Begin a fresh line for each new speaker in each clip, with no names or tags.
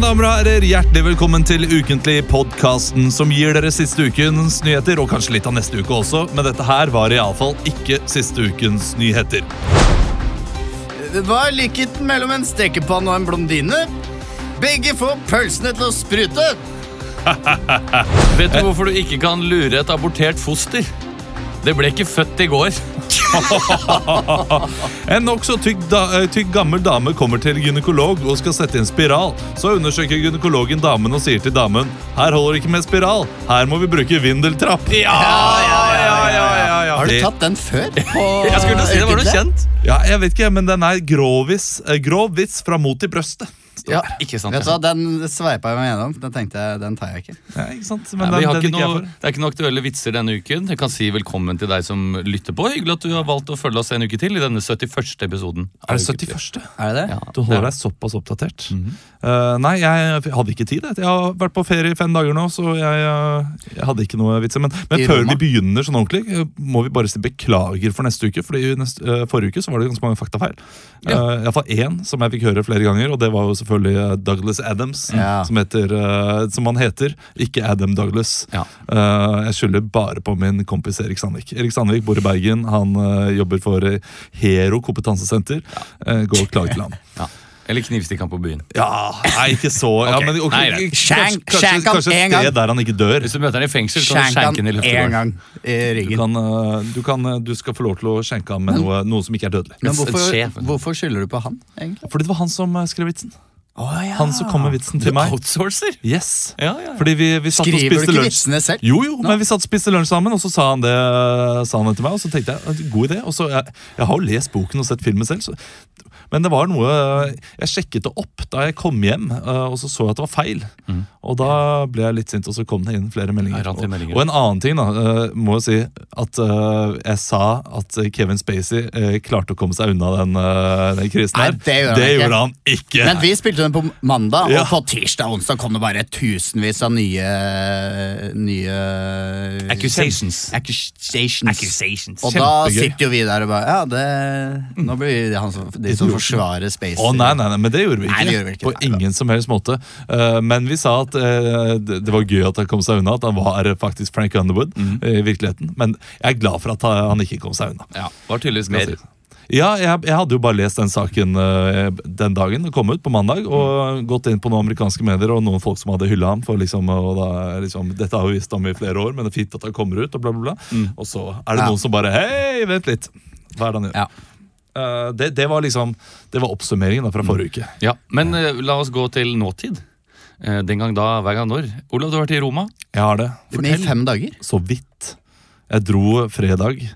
damer og herrer, hjertelig velkommen til Ukentlig, podkasten som gir dere siste ukens nyheter, og kanskje litt av neste uke også, men dette her var iallfall ikke siste ukens nyheter.
Hva er likheten mellom en stekepanne og en blondine? Begge får pølsene til å sprute.
Vet du hvorfor du ikke kan lure et abortert foster? Det ble ikke født i går.
En nokså tygg, da, eh, tygg gammel dame kommer til gynekolog og skal sette inn spiral. Så undersøker gynekologen damen og sier til damen her holder det ikke med spiral, her må vi bruke vindeltrapp.
Ja, ja, ja, ja, ja,
Har du
Det-
tatt den før?
Jeg skulle til å si det var noe kjent.
Ja, jeg vet ikke, men den er grovis, eh, grov vits fra mot i brøstet. står
Ja.
det.
Ikke sant.
Vet du hva, Den sveipa jeg meg gjennom. Den tenkte jeg, den tar jeg ikke.
Ja, ikke sant?
Nei,
Men
vi
den,
har
den
ikke
ikke jeg
noe,
for.
det er ikke noen aktuelle vitser denne uken. Jeg kan si velkommen til deg som lytter på. Hyggelig at du har valgt å følge oss en uke til i denne 71. episoden. av
Er det
Ukentlig.
71.?
Er det det?
Ja, Mhm.
Du holder deg såpass oppdatert. Eh, nei, jeg hadde ikke tid. Jeg, jeg har vært på ferie i fem dager nå, så jeg, eh, jeg hadde ikke noe vitser. Men, men
I
før
Roma.
vi begynner sånn ordentlig, eh, må vi bare si beklager for neste uke. Fordi i neste, eh, forrige uke så var det ganske mange faktafeil.
Ja.
Uh, Iallfall én som jeg fikk høre flere ganger, og det var jo selvfølgelig eh, Douglas Adams.
Ja.
Som, heter, eh, som han heter. Ikke Adam Douglas.
Ja.
Eh, jeg skylder bare på min kompis Erik Sandvik. Erik Sandvik bor i Bergen. Han eh, jobber for eh, Hero kompetansesenter. Eh, gå og klag til han.
Ja. Eller knivstikk han på byen.
Ja, nei, ikke så ja,
Ok,
men, ok,
nei, nei.
Kanskje,
Skjenk-
kanskje,
skjenk han
kanskje
en
et
gang.
sted der han ikke dør.
Hvis du møter han i fengsel, kan du
Skjenk
skjenke han i
han én
løftegården.
gang i
Du,
ryggen.
kan, eh, du, kan, eh, du skal få lov til å skjenke ham med noe, noe som ikke er dødelig.
Men
En skje,
hvorfor,
for eksempel.
hvorfor skylder du på han, egentlig?
Fordi det var han som eh, skrev vitsen.
Oh, ja.
Han som kom med vitsen til meg.
Outsourcer?
Yes
Ja, ja, ja.
Fordi vi, vi satt og
Skriver du
spiste
ikke
lunsj.
vitsene selv?
Jo, jo, men vi satt og spiste lunsj sammen, og så sa han det Sa han det til meg. Og så tenkte jeg eh, god idé. Og så, jeg, jeg har jo lest boken og sett filmen selv, så, men det var noe eh, Jeg sjekket det opp da jeg kom hjem, eh, og så så jeg at det var feil. Og da ble jeg litt sint, og så kom det inn flere
Jeg
meldinger.
Mm. rant
Og,
inn meldinger.
og en annen ting, da, eh, må jeg si at eh, jeg sa at Kevin Spacey eh, klarte å komme seg unna den, eh, den krisen
Nei,
her.
det gjorde han ikke.
gjorde han ikke.
Men vi spilte den på mandag,
Ja.
og på tirsdag og onsdag kom det bare tusenvis av nye, nye
Accusations.
Accusations.
Accusations.
Og da
Kjempegøy.
sitter jo vi der og bare Ja, det Nå blir vi han som, de som forsvarer space.
Å nei, nei, nei, men det gjorde vi ikke.
Nei, det gjorde vi ikke.
På
Nei,
ingen som helst måte. Eh, men vi sa at eh, det det var gøy at han kom seg unna, at han var eh, faktisk Frank Underwood
Mhm.
eh, i virkeligheten. Men jeg er glad for at han han ikke kom seg unna.
Ja, var tydeligvis
Skal
mer.
sies. Ja, jeg, jeg hadde jo bare lest den saken eh, den dagen. Den kom ut på mandag. Og
Mhm.
gått inn på noen amerikanske medier og noen folk som hadde hylla ham. For liksom, og da, liksom, dette har vi visst om i flere år, men det er fint at han kommer ut, og bla, bla, bla. Og så er det
Mhm. Ja.
noen som bare Hei, vent litt. Hva er det han gjør?
Ja.
Eh, det, det var liksom Det var oppsummeringen da fra forrige
Mhm.
uke.
Ja, Men eh, la oss gå til nåtid. Eh, Den gang da, hver gang når. Olav, du har vært i Roma.
Jeg har det.
Men I fem dager?
Så vidt. Jeg dro fredag.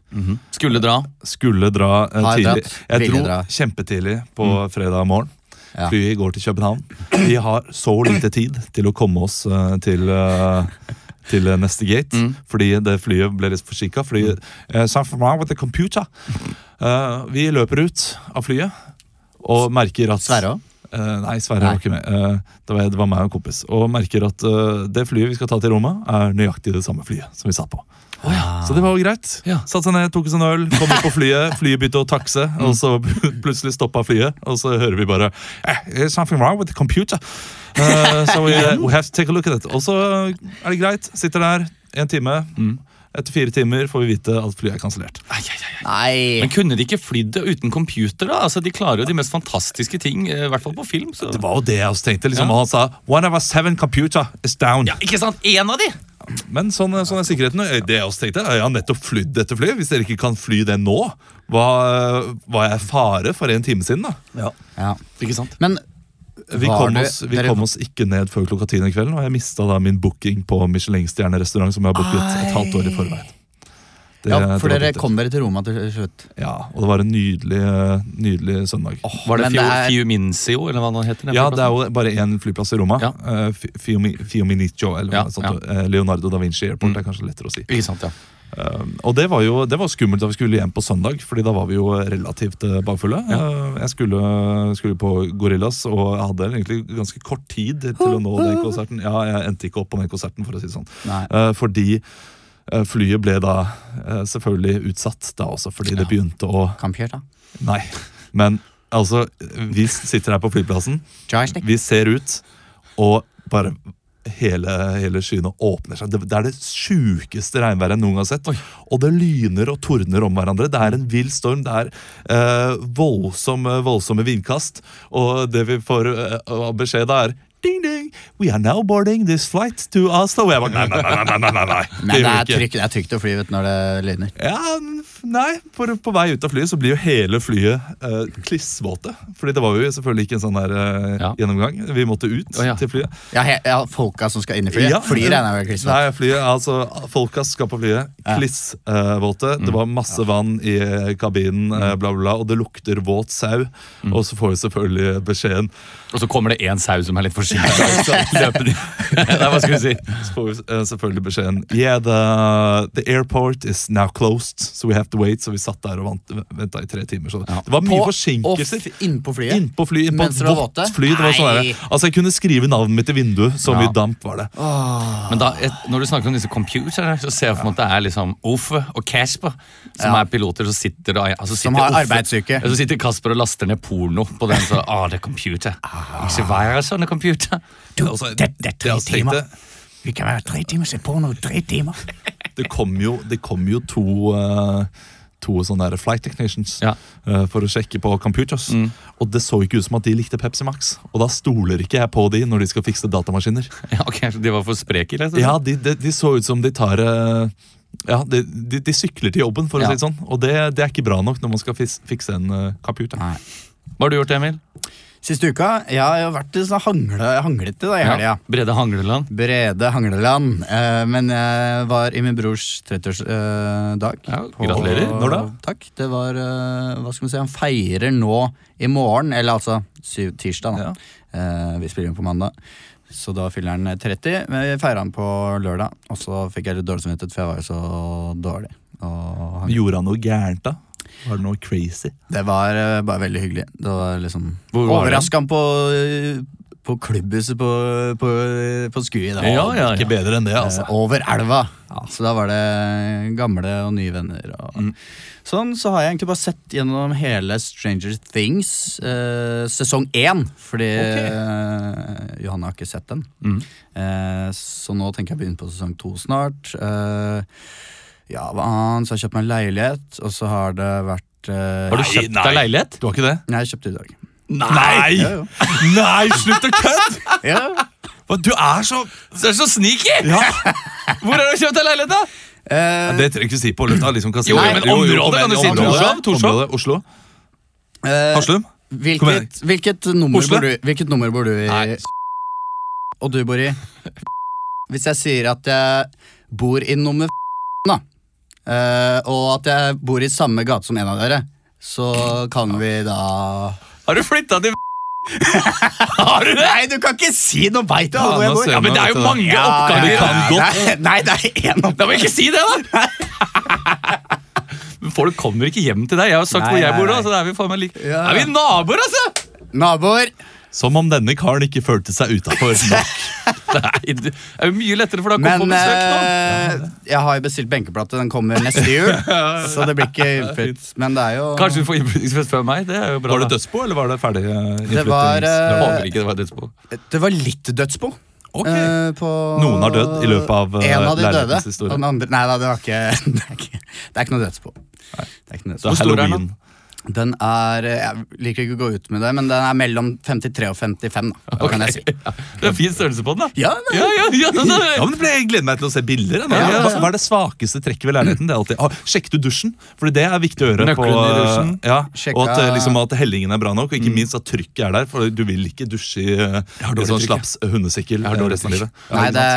Skulle dra.
Skulle dra eh,
Har
tidlig.
dratt,
Jeg
ville
dro
dra. Mm.
kjempetidlig på fredag morgen.
Ja.
Flyet går til København. Vi har så lite tid til å komme oss eh, til eh, til eh, neste gate,
Mm.
fordi det flyet ble litt forsinka. Fordi eh, something wrong with the computer. Eh, vi løper ut av flyet og merker at
Sverre òg?
Eh, nei, Sverre
Nei.
var ikke med. Eh, det, var, det var meg og en kompis. Og merker at eh, det flyet vi skal ta til Roma, er nøyaktig det samme flyet som vi satt på. Så det var jo greit.
Ja.
Satt seg ned, tok oss en øl, kom opp på flyet. Flyet begynte å takse, og så plutselig stoppa flyet. Og så hører vi bare eh, there's Something wrong with the computer. Eh, so we, we have to take a look at it. Og så er det greit. Sitter der en time. Etter fire timer får vi vite at flyet er kansellert.
Nei!
Men kunne de ikke flydd det uten computer? da? Altså, De klarer jo de mest fantastiske ting, eh, i hvert fall på film. Så.
Det var jo det jeg også tenkte. liksom,
Ja.
Og han sa One of our seven computer is down.
Ja, Ikke sant? Én av de!
Men sånn, sånn er sikkerheten. Og Det jeg også tenkte, eh, jeg har nettopp flydd dette flyet. Hvis dere ikke kan fly det nå, hva var jeg i fare for en time siden? da?
Ja.
Ikke sant?
Men
Vi,
Var
kom
det-
oss, vi
dere-
kom oss ikke ned før klokka ti den kvelden, og jeg mista da min booking på Michelin-stjernerestaurant som jeg har booket et halvt år i forveien. Det-
ja,
det
For
var
dere
bittert.
kom dere til Roma til slutt.
Ja, og det var en nydelig, eh, nydelig søndag.
Var det,
Men det
Fio,
er-
Fiuminzio, eller hva den heter? den
Ja,
flyplassen?
det er jo bare én flyplass i Roma.
Ja.
Eh, Fi- Fiumi- Fiumicino, eller
Ja,
hva sånt. Eh, Leonardo da Vinci
Mm.
Airport er kanskje lettere å si.
Ikke sant, ja.
Og det var jo det var skummelt da vi skulle hjem på søndag, Fordi da var vi jo relativt eh, bakfulle. Eh, Jeg skulle, skulle på Gorillas og jeg hadde egentlig ganske kort tid til å nå den konserten. Ja, jeg endte ikke opp på den konserten, for å si det sånn.
Nei.
Eh, Fordi eh, flyet ble da eh, selvfølgelig utsatt da også, fordi det begynte å
Kampkjørt, da.
Nei. Men altså, vi sitter her på flyplassen,
Joystick.
vi ser ut, Og bare hele, hele skyene åpner seg. Det, det er det sjukeste regnværet jeg noen gang har sett. Og det lyner og tordner om hverandre. Det er en vill storm. Det er eh, voldsomme, voldsomme vindkast. Og det vi får eh, av beskjed da, er Ding, ding. We are now boarding this flight to Oslo. Og jeg bare, nei, nei, nei, nei, nei, nei, nei.
Nei,
gjør vi
det er,
ikke.
trygt, det er trygt å fly vet, du, når det lyner.
Ja, men f- nei, på, på vei ut av flyet så blir jo hele flyet eh, klissvåte. Fordi det var jo selvfølgelig ikke en sånn der eh,
Ja.
gjennomgang. Vi måtte ut
Å, ja.
til flyet.
Ja, he, ja, folka som skal inn i flyet.
Ja.
Flyet regner jeg med Chris
Nei, flyet, altså Folka skal på flyet. Klissvåte.
Mm.
det var masse vann i eh, kabinen, eh, bla, bla, bla, og det lukter våt sau.
Mm.
Og så får vi selvfølgelig beskjeden
Og så kommer det én sau som er litt forsinka. Løpende. Nei, hva skal vi si?
Så får vi eh, selvfølgelig beskjeden Yeah, the, the airport is now closed, so we have to wait. Så vi satt der og vant- venta i tre timer. Så det var mye forsinkelser.
Innpå flyet.
Innpå fly, inn på
Mens
et
dere var
vått
våte?
fly. Det var sånn
Nei.
der. Altså, jeg kunne skrive navnet mitt i vinduet. Så mye damp var det.
Men da, et, når du snakker om disse computerne, så ser jeg for meg at det er liksom Uffe og Casper som
Ja.
er piloter. Så sitter, og, altså, sitter
Som har
Uffe-
arbeidsuke.
Ja, Så sitter Kasper og laster ned porno på den. Så, ah, det er computer.
Ah.
Ikke være sånne computer.
Altså, det,
tre
altså, tenkte,
timer. Vi kan være tre timer, se porno tre timer.
det kom jo, det kom jo to eh, To sånne der flight technicians
Ja.
eh, for å sjekke på computers.
Mm.
Og det så ikke ut som at de likte Pepsi Max. Og da stoler ikke jeg på de når de skal fikse datamaskiner.
Ja, ok, så De var for spreke, liksom?
Ja, de, de, de så ut som de tar eh, Ja, de, de, de sykler til jobben, for
Ja.
å si det sånn. Og det, det er ikke bra nok når man skal fis, fikse en eh, computer.
Nei.
Hva har du gjort, Emil?
Siste uka jeg har jo vært litt sånn hangle, hanglete da, i helga.
Brede Hangleland.
Brede Hangleland. eh, men jeg var i min brors 30-årsdag.
Ja, gratulerer.
Når da?
Takk. Det var eh, Hva skal vi si, han feirer nå i morgen, eller altså syv, tirsdag, da.
Ja.
Eh, vi spiller inn på mandag. Så da fyller han 30. Men vi feira han på lørdag, og så fikk jeg litt dårlig samvittighet, for jeg var jo så dårlig. Og han,
Gjorde han noe gærent, da? Var det noe crazy?
det var eh, bare veldig hyggelig. Det var liksom
Hvor var
Overraska han på, eh, på klubbhuset på, på, på Skui. da.
Ja, ja, ja.
Ikke bedre enn det, altså.
Eh, Over elva. Så da var det gamle og nye venner. Og
Mm.
Sånn så har jeg egentlig bare sett gjennom hele Stranger Things eh, sesong én. Fordi eh, Johanne har ikke sett den.
Mm.
Eh, så nå tenker jeg å begynne på sesong to snart. Eh, ja, hva annet? Så har jeg kjøpt meg en leilighet, og så har det vært eh,
Har du
Nei,
kjøpt
nei.
deg leilighet?
Du har ikke det?
Nei, jeg kjøpte i dag.
Nei!
Ja,
Nei, slutt å kødde!
Ja.
Hva, Du er så
Du er så sneaky!
ja.
Hvor har du kjøpt deg leilighet, da?
Eh,
Det trenger du ikke si på lufta. Liksom, kan si
Jo,
det.
jo, men
jo,
området
kom igjen,
kan du si.
området.
Torshov, Torshov.
Området, Oslo.
eh,
Haslum. Kom igjen.
Hvilket, hvilket, nummer
Oslo?
bor du, hvilket nummer bor du i?
Nei.
Og du bor i Hvis jeg sier at jeg bor i nummer da, eh, og at jeg bor i samme gate som en av dere, så kan vi da
Har du flytta til Har du det?
Nei, du kan ikke si noe veit du
Ja,
hvor
nå
jeg bor!
ser
Ja, men det er jo mange
Ja,
oppgaver.
ja, ja.
kan godt.
Nei, Nei, det er én
Da må jeg ikke si det, da! Men Folk kommer ikke hjem til deg. Jeg har sagt
Nei,
hvor jeg
nei,
bor, da.
nei.
Så da er vi faen meg like.
Ja.
Er vi naboer, altså?
Naboer.
Som om denne karen ikke følte seg utafor.
Nei, det er jo mye lettere for deg å komme
Men
på besøk nå.
eh, jeg har jo bestilt benkeplate, den kommer neste jul. Så det blir ikke innflytt. Men det er jo
Kanskje du får innflyttingsfest før meg. Det er jo bra.
Var det
da.
dødsbo, eller var det ferdig? eh,
Det var,
Jeg
innflyttings-
eh,
håper ikke det var dødsbo.
Det var litt dødsbo.
Ok.
Eh, på
Noen har dødd i løpet av, eh,
En av de døde.
leilighetens historie.
Og den andre, nei da, det var ikke Det er ikke, det er ikke noe dødsbo. Det er ikke noe
Det
dødsbo.
er
stor er den,
halloween.
Den er eh, Jeg liker ikke å gå ut med det, men den er mellom 53 og 55, da. Det kan jeg si.
Ja, Det er fin størrelse på den, da.
Ja, nei.
ja, ja, ja, da- da-
Ja, men det ble, Jeg gleder meg til å se bilder. jeg, nå.
Ja, ja, ja.
Hva, hva er det svakeste trekket ved leiligheten? Det er alltid, ah, Sjekk du dusjen, for det er viktig å gjøre. På,
Nøkkelen i dusjen. Mm.
ja, og
Sjekka-
at, eh, liksom, at hellingen er bra nok, og ikke minst at trykket er der. For du vil ikke dusje i eh, en
dårlig
sånn
trykk,
slaps hundesikkel
har
eh,
dårlig
resten av
trykk.
livet. Ja,
Nei,
ikke
det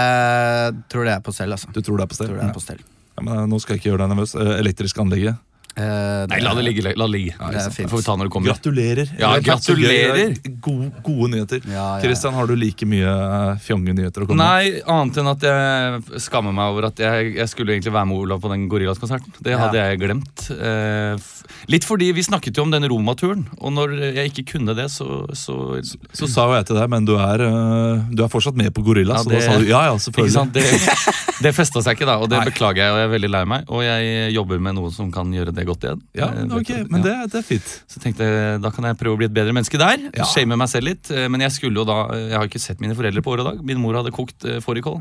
sant?
tror det er på stell, altså.
Du tror det er på stell?
Tror det er på stell.
Ja, men eh, Nå skal jeg ikke gjøre deg nervøs. Eh, Elektrisk anlegget.
Eh,
Nei, la det ligge. La det ligge.
det er fint.
får vi ta når det kommer.
Gratulerer.
Ja,
Det er så gøy.
gratulerer.
Gode, gode nyheter.
Ja, ja.
Christian, har du like mye eh, fjonge nyheter å komme med?
Nei, annet enn at jeg skammer meg over at jeg, jeg skulle egentlig være med Olav på den Gorillas-konserten. Det hadde jeg glemt. Eh, f- litt fordi vi snakket jo om den Roma-turen, og når jeg ikke kunne det, så, så,
Så sa jo jeg til deg, men du er, eh, du er fortsatt med på Gorilla.
Ja,
så
det-
da sa du ja, ja,
Ikke
selvfølgelig.
sant? Det, det festa seg ikke, da, og det beklager jeg. Og jeg er veldig lei meg, og jeg jobber med noe som kan gjøre det det godt igjen.
Ja,
Eh,
ok,
vet du-
men
ja.
det, det er fint.
Så tenkte jeg, da kan jeg prøve å bli et bedre menneske der.
Ja.
Shame meg selv litt. eh, Men jeg skulle jo da Jeg har ikke sett mine foreldre på år og dag. Min mor hadde kokt eh, fårikål.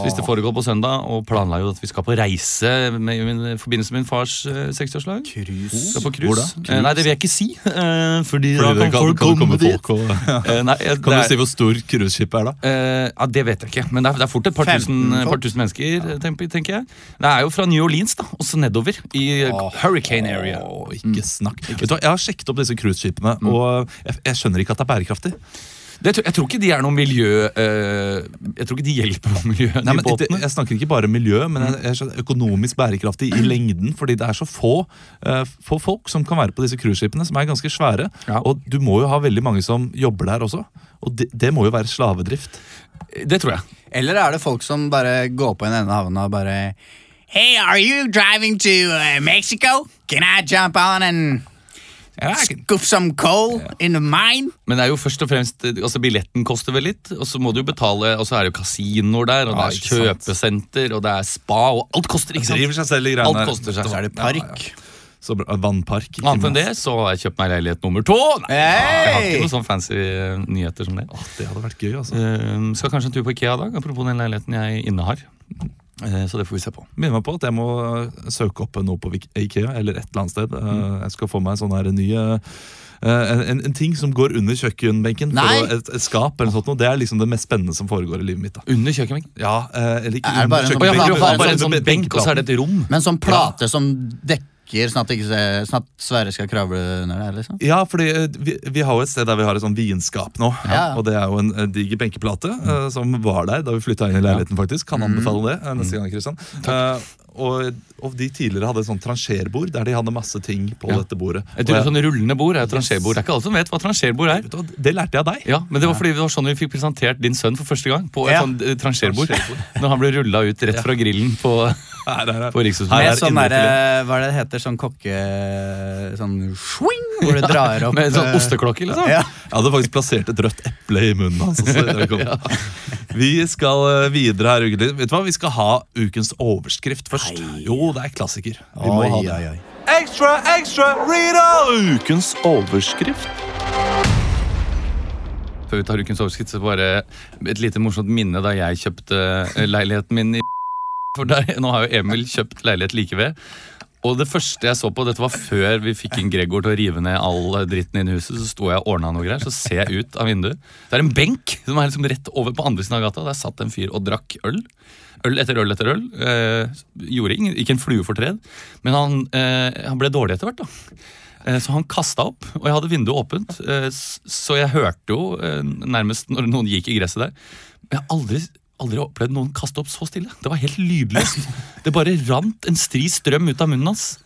Spiste fårikål på søndag og planla jo at vi skal på reise med, i min- i forbindelse med min fars eh, 60-årslag.
Krus.
Skal på
Hvor
cruise.
da?
Eh, Nei, det vil jeg ikke si. eh, Fordi,
Fordi det kan, kan det komme folk og
Eh, Nei,
Kan
eh,
du
det er-
si hvor stor cruiseskipet er, da?
Eh, ja, Det vet jeg ikke, men det er, det er fort et par,
15
tusen, eh, par
folk.
tusen mennesker. eh, Tenker, tenker jeg Det er jo fra New Orleans da, og så nedover i eh,
Åh.
hurricane area.
Åh, ikke snakk. Vet du hva, Jeg har sjekket opp disse cruiseskipene, og eh, jeg, jeg skjønner ikke at det er bærekraftig.
Det, tror- jeg tror ikke de er noe miljø eh, Jeg tror ikke de hjelper noe miljø, de
Nei, men det,
båtene.
jeg snakker ikke bare miljø, men jeg, jeg skjønner økonomisk bærekraftig i lengden. Fordi det er så få, eh, få folk som kan være på disse cruiseskipene, som er ganske svære.
Ja.
Og du må jo ha veldig mange som jobber der også. Og det, det må jo være slavedrift.
Det, tror jeg.
Eller er det folk som bare går på en ende av havna og bare Hey, are you driving to uh, Mexico? Can I jump on and scoop some coal in the mine?
Men det er jo først og fremst eh, altså billetten koster vel litt, og så må du jo betale, og så er det jo kasinoer der, og
Ja,
det er
ikke sant.
kjøpesenter, og det er spa, og alt koster, ikke sant?
Driver seg selv i
Alt
greiene
koster
Så
seg.
er det park.
Så bra, Vannpark. ikke
Annet enn
minst.
det så har jeg kjøpt meg leilighet nummer to. Nei, jeg har
Hey!
ikke noe sånn fancy eh, nyheter som det.
Åh, det hadde vært gøy, altså.
Eh, skal kanskje en tur på Ikea i dag, apropos den leiligheten jeg innehar. Eh, så det får vi se på.
Minner meg på at jeg må eh, søke opp noe på Vik- Ikea eller et eller annet sted. Eh,
Mm.
Jeg skal få meg sånn her ny eh, en, en, en ting som går under kjøkkenbenken. for
Nei!
å- Et, et skap eller noe sånt. noe. Det er liksom det mest spennende som foregår i livet mitt. da
Under kjøkkenbenken?
Ja, eh, eller ikke
Er det bare en sånn-
Å ja,
benk,
for du har
altså,
bare en sånn benk, og så er det et rom.
Men sånn plate som dekker, sånn at, det ikke, ser- sånn at Sverre skal kravle under der, liksom?
Ja, fordi eh, vi, vi har jo et sted der vi har et sånn vinskap nå.
Ja.
Og det er jo en eh, diger benkeplate eh, som var der da vi flytta inn i leiligheten, faktisk. Kan anbefale det eh, neste gang, Kristian. Eh, og, og de tidligere hadde et sånt trangerbord der de hadde masse ting på
Ja.
dette bordet.
Jeg tror
Og
sånn rullende bord er et
Yes.
rangerbord. Det er ikke alle som vet hva et rangerbord er.
vet du hva, det lærte jeg av deg.
Ja, men Det var fordi det var sånn vi fikk presentert din sønn for første gang. På et
Ja.
sånt eh, rangerbord. Når han ble rulla ut rett fra grillen på,
Her, her, her.
på Rikshuset.
Her
Med
er
sånn
indrefilet.
derre Hva er det det heter? Sånn kokke... Sånn swing, hvor det drar opp
Med en sånn
eh,
osteklokke, liksom.
Ja.
Jeg hadde faktisk plassert et rødt eple i munnen hans. Altså, så det kom. Vi skal eh, videre her. ukentlig. Vet du hva? Vi skal ha ukens overskrift først. Jo, det er klassiker. Vi må
Oi,
ha
oi,
det.
oi.
Ekstra, ekstra, Rita! Ukens overskrift.
Før vi tar ukens overskritt, så bare et lite morsomt minne da jeg kjøpte eh, leiligheten min i For der, nå har jo Emil kjøpt leilighet like ved. Og det første jeg så på, dette var før vi fikk inn Gregor til å rive ned all eh, dritten inn i huset, så sto jeg og ordna noe greier, så ser jeg ut av vinduet. Det er en benk som er liksom rett over på andre siden av gata. Der satt en fyr og drakk øl. Øl etter øl etter øl. Eh, gjorde ingen, ikke en flue for tred. Men han, eh, han ble dårlig etter hvert, da. Eh, Så han kasta opp, og jeg hadde vinduet åpent. eh, s- Så jeg hørte jo eh, nærmest når noen gikk i gresset der. Men jeg har aldri, aldri opplevd noen kaste opp så stille. Det var helt lydløst. Det bare rant en stri strøm ut av munnen hans.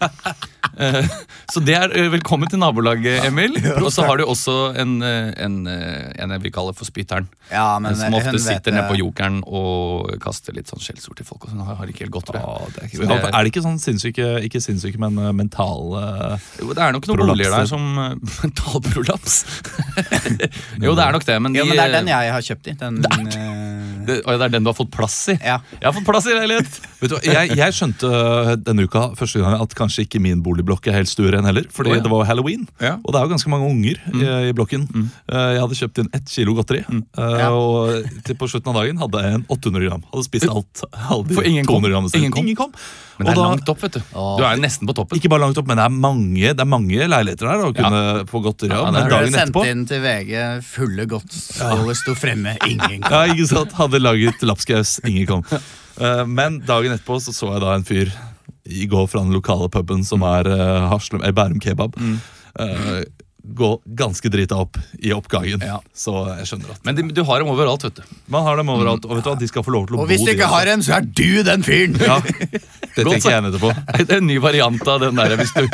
Eh, Så det er eh, velkommen til nabolaget, Emil. Og så har du også en, eh, en, eh, en jeg vil kalle for spytteren.
Ja, men
som
hun
ofte
vet
sitter
det.
nede på jokeren og kaster litt sånn skjellsord til folk. Og sånn. Han har ikke helt godt ved.
Ja, det er, ikke,
Så det-
er det ikke sånn sinnssyke, ikke sinnssyke, men eh, mentale
Jo, det er nok noen
Prolaps,
boliger
ja.
der som eh, Mentalprolaps? jo, det er nok det, men de
Jo, men det er den jeg har kjøpt i. Den, eh,
Det, å, det er den du har fått plass i?
ja.
Jeg har fått plass i leilighet!
Vet du, hva, jeg, jeg skjønte eh, denne uka første gang at kanskje ikke min boligblokk er helt stueren heller. Fordi
Å, ja.
det var halloween,
Ja. Mm.
og det er jo ganske mange unger i, i blokken. Eh, Jeg hadde kjøpt inn ett kilo godteri, eh,
Ja.
og til på slutten av dagen hadde jeg en 800 gram. Hadde spist alt. alle de
For ingen kom.
200 grammene selv.
Ingen kom.
Ingen kom.
Men det
Og
er
da-
langt opp, vet du. Du er jo nesten på toppen.
Ikke bare langt opp, men det er mange, det er mange leiligheter der å kunne få godteri av.
Ja, det
men
er
Ble
dagen
sendt
etterpå
inn til VG fulle godtskåler sto fremme. Ingen
Ja, ikke sant? Hadde laget lapskaus. Ingen kom. Eh, men dagen etterpå så, så jeg da en fyr i går fra den lokale puben som
Mm.
er eh, Haslum, eh, Bærum Kebab. eh, gå ganske drita opp i oppgangen.
Ja.
Så jeg skjønner at
Men de, du har dem overalt, vet du.
Man har dem overalt, og vet du hva, de skal få lov til å
Og hvis
bo
du
de
ikke
også.
har en, så er du den fyren!
ja, Det
Godt
tenker jeg etterpå.
Det er en ny variant av den der hvis du,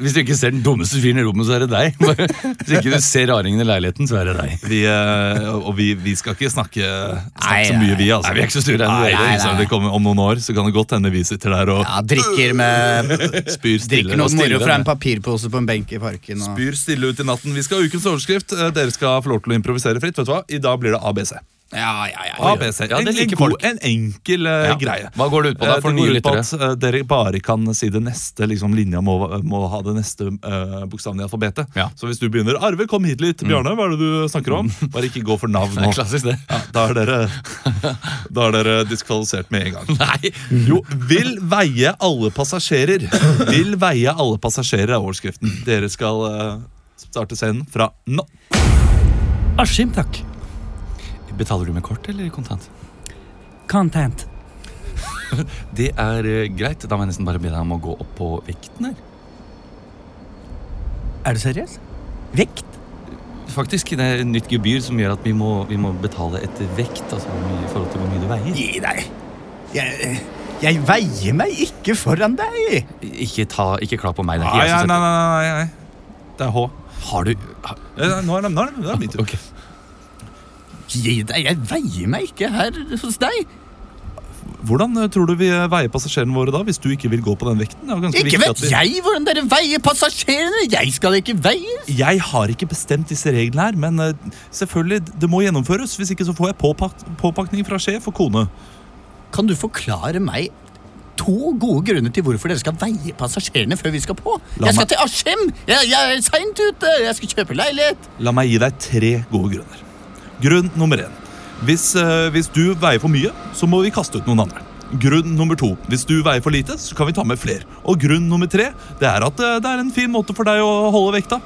hvis du ikke ser den dummeste fyren i rommet, så er det deg. Bare, hvis ikke du ser raringen i leiligheten, så er det deg.
Vi, eh, og vi, vi skal ikke snakke, snakke
Nei,
så mye, vi. altså
Nei, vi er ikke så store ennå.
Nei, det er
Nei,
ikke sant.
nei.
Det kommer Om noen år så kan det godt hende vi sitter der og
Ja, drikker med
spyr stille.
Drikker noe
og stille
moro
med-
fra en papirpose på en benk i parken. Og...
Byr stille ut i natten. Vi skal ha ukens overskrift. Eh, Dere skal få lov til å improvisere fritt. vet du hva? I dag blir det ABC.
Ja, ja, ja.
A, B, C.
Ja,
En,
det
en,
liker
god,
folk.
en enkel eh,
Ja.
greie.
Hva går det ut på da,
Eh,
for
går
nye
ut på
lyttere?
At, eh, dere bare kan si det neste. liksom Linja må, må ha det neste eh, bokstaven i alfabetet.
Ja. Mm.
Så hvis du begynner Arve, kom hit litt. Bjarne, hva er det du snakker om? Bare ikke gå for navn
Det
nå.
er klassisk, det.
Ja, da, er dere, da er dere diskvalifisert med en gang.
Nei!
Jo, vil veie alle passasjerer. Vil veie alle passasjerer er overskriften. Dere skal eh, starte scenen fra nå.
Askim, takk. Betaler du med kort eller kontant?
Content.
Det er eh, greit. Da må jeg nesten bare be deg om å gå opp på vekten her.
Er du seriøs? Vekt?
Faktisk, det er et nytt gebyr som gjør at vi må, vi må betale etter vekt. Altså hvor mye- i forhold til hvor mye du veier.
Gi deg. Jeg, jeg veier meg ikke foran deg.
Ikke, ta, ikke kla på meg. Det er
Nei,
ikke jeg
nei,
som
nei,
setter
nei, nei, nei. Det er H.
Har du har,
Eh, Nå er det, nå er det, nå er det min tur.
ok.
Gi deg, Jeg veier meg ikke her hos deg.
Hvordan eh, tror du vi eh, veier passasjerene våre da, hvis du ikke vil gå på den vekten? Det er jo ganske
Ikke
viktig
vet
at vi-
jeg hvordan dere veier passasjerene! Jeg skal ikke veies!
Jeg har ikke bestemt disse reglene her, men eh, selvfølgelig, det må gjennomføres. Hvis ikke så får jeg påpak påpakning fra sjef og kone.
Kan du forklare meg to gode grunner til hvorfor dere skal veie passasjerene før vi skal på?
La
jeg
meg-
skal til Askim! Jeg, jeg er seint ute! Jeg skal kjøpe leilighet!
La meg gi deg tre gode grunner. Grunn nummer én. Hvis, eh, hvis du veier for mye, så må vi kaste ut noen andre. Grunn nummer to. Hvis du veier for lite, så kan vi ta med flere. Og grunn nummer tre det er at eh, det er en fin måte for deg å holde vekta.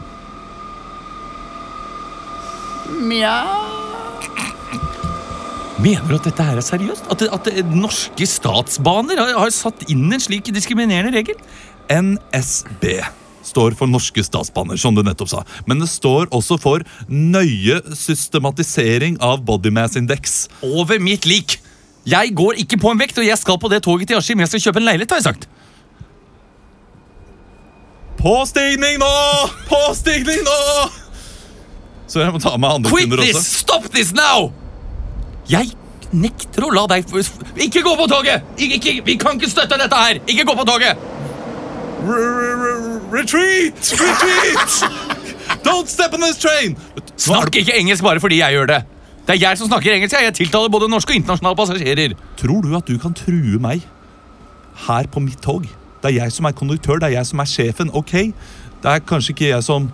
Mjau.
Mener du at dette her er seriøst? At, at det- norske statsbaner har, har satt inn en slik diskriminerende regel?
NSB står for Norske Statsbaner, som du nettopp sa. Men det står også for nøye systematisering av bodymass-indeks.
Over mitt lik! Jeg går ikke på en vekt, og jeg skal på det toget til Askim. Jeg skal kjøpe en leilighet, har jeg sagt.
Påstigning nå! Påstigning nå! Så jeg må ta med andre
Quit
kunder
this!
også.
Stop this now! Jeg nekter å la deg få- Ikke gå på toget! Ikke, ikke, vi kan ikke støtte dette her! Ikke gå på toget!
R- r- r- Retreat! Retreat! Don't step on this train!
Snakk ikke engelsk bare fordi jeg gjør det. Det er jeg som snakker engelsk. Jeg Jeg tiltaler både norske og internasjonale passasjerer.
Tror du at du kan true meg her på mitt tog? Det er jeg som er konduktør, det er jeg som er sjefen, ok? Det er kanskje ikke jeg som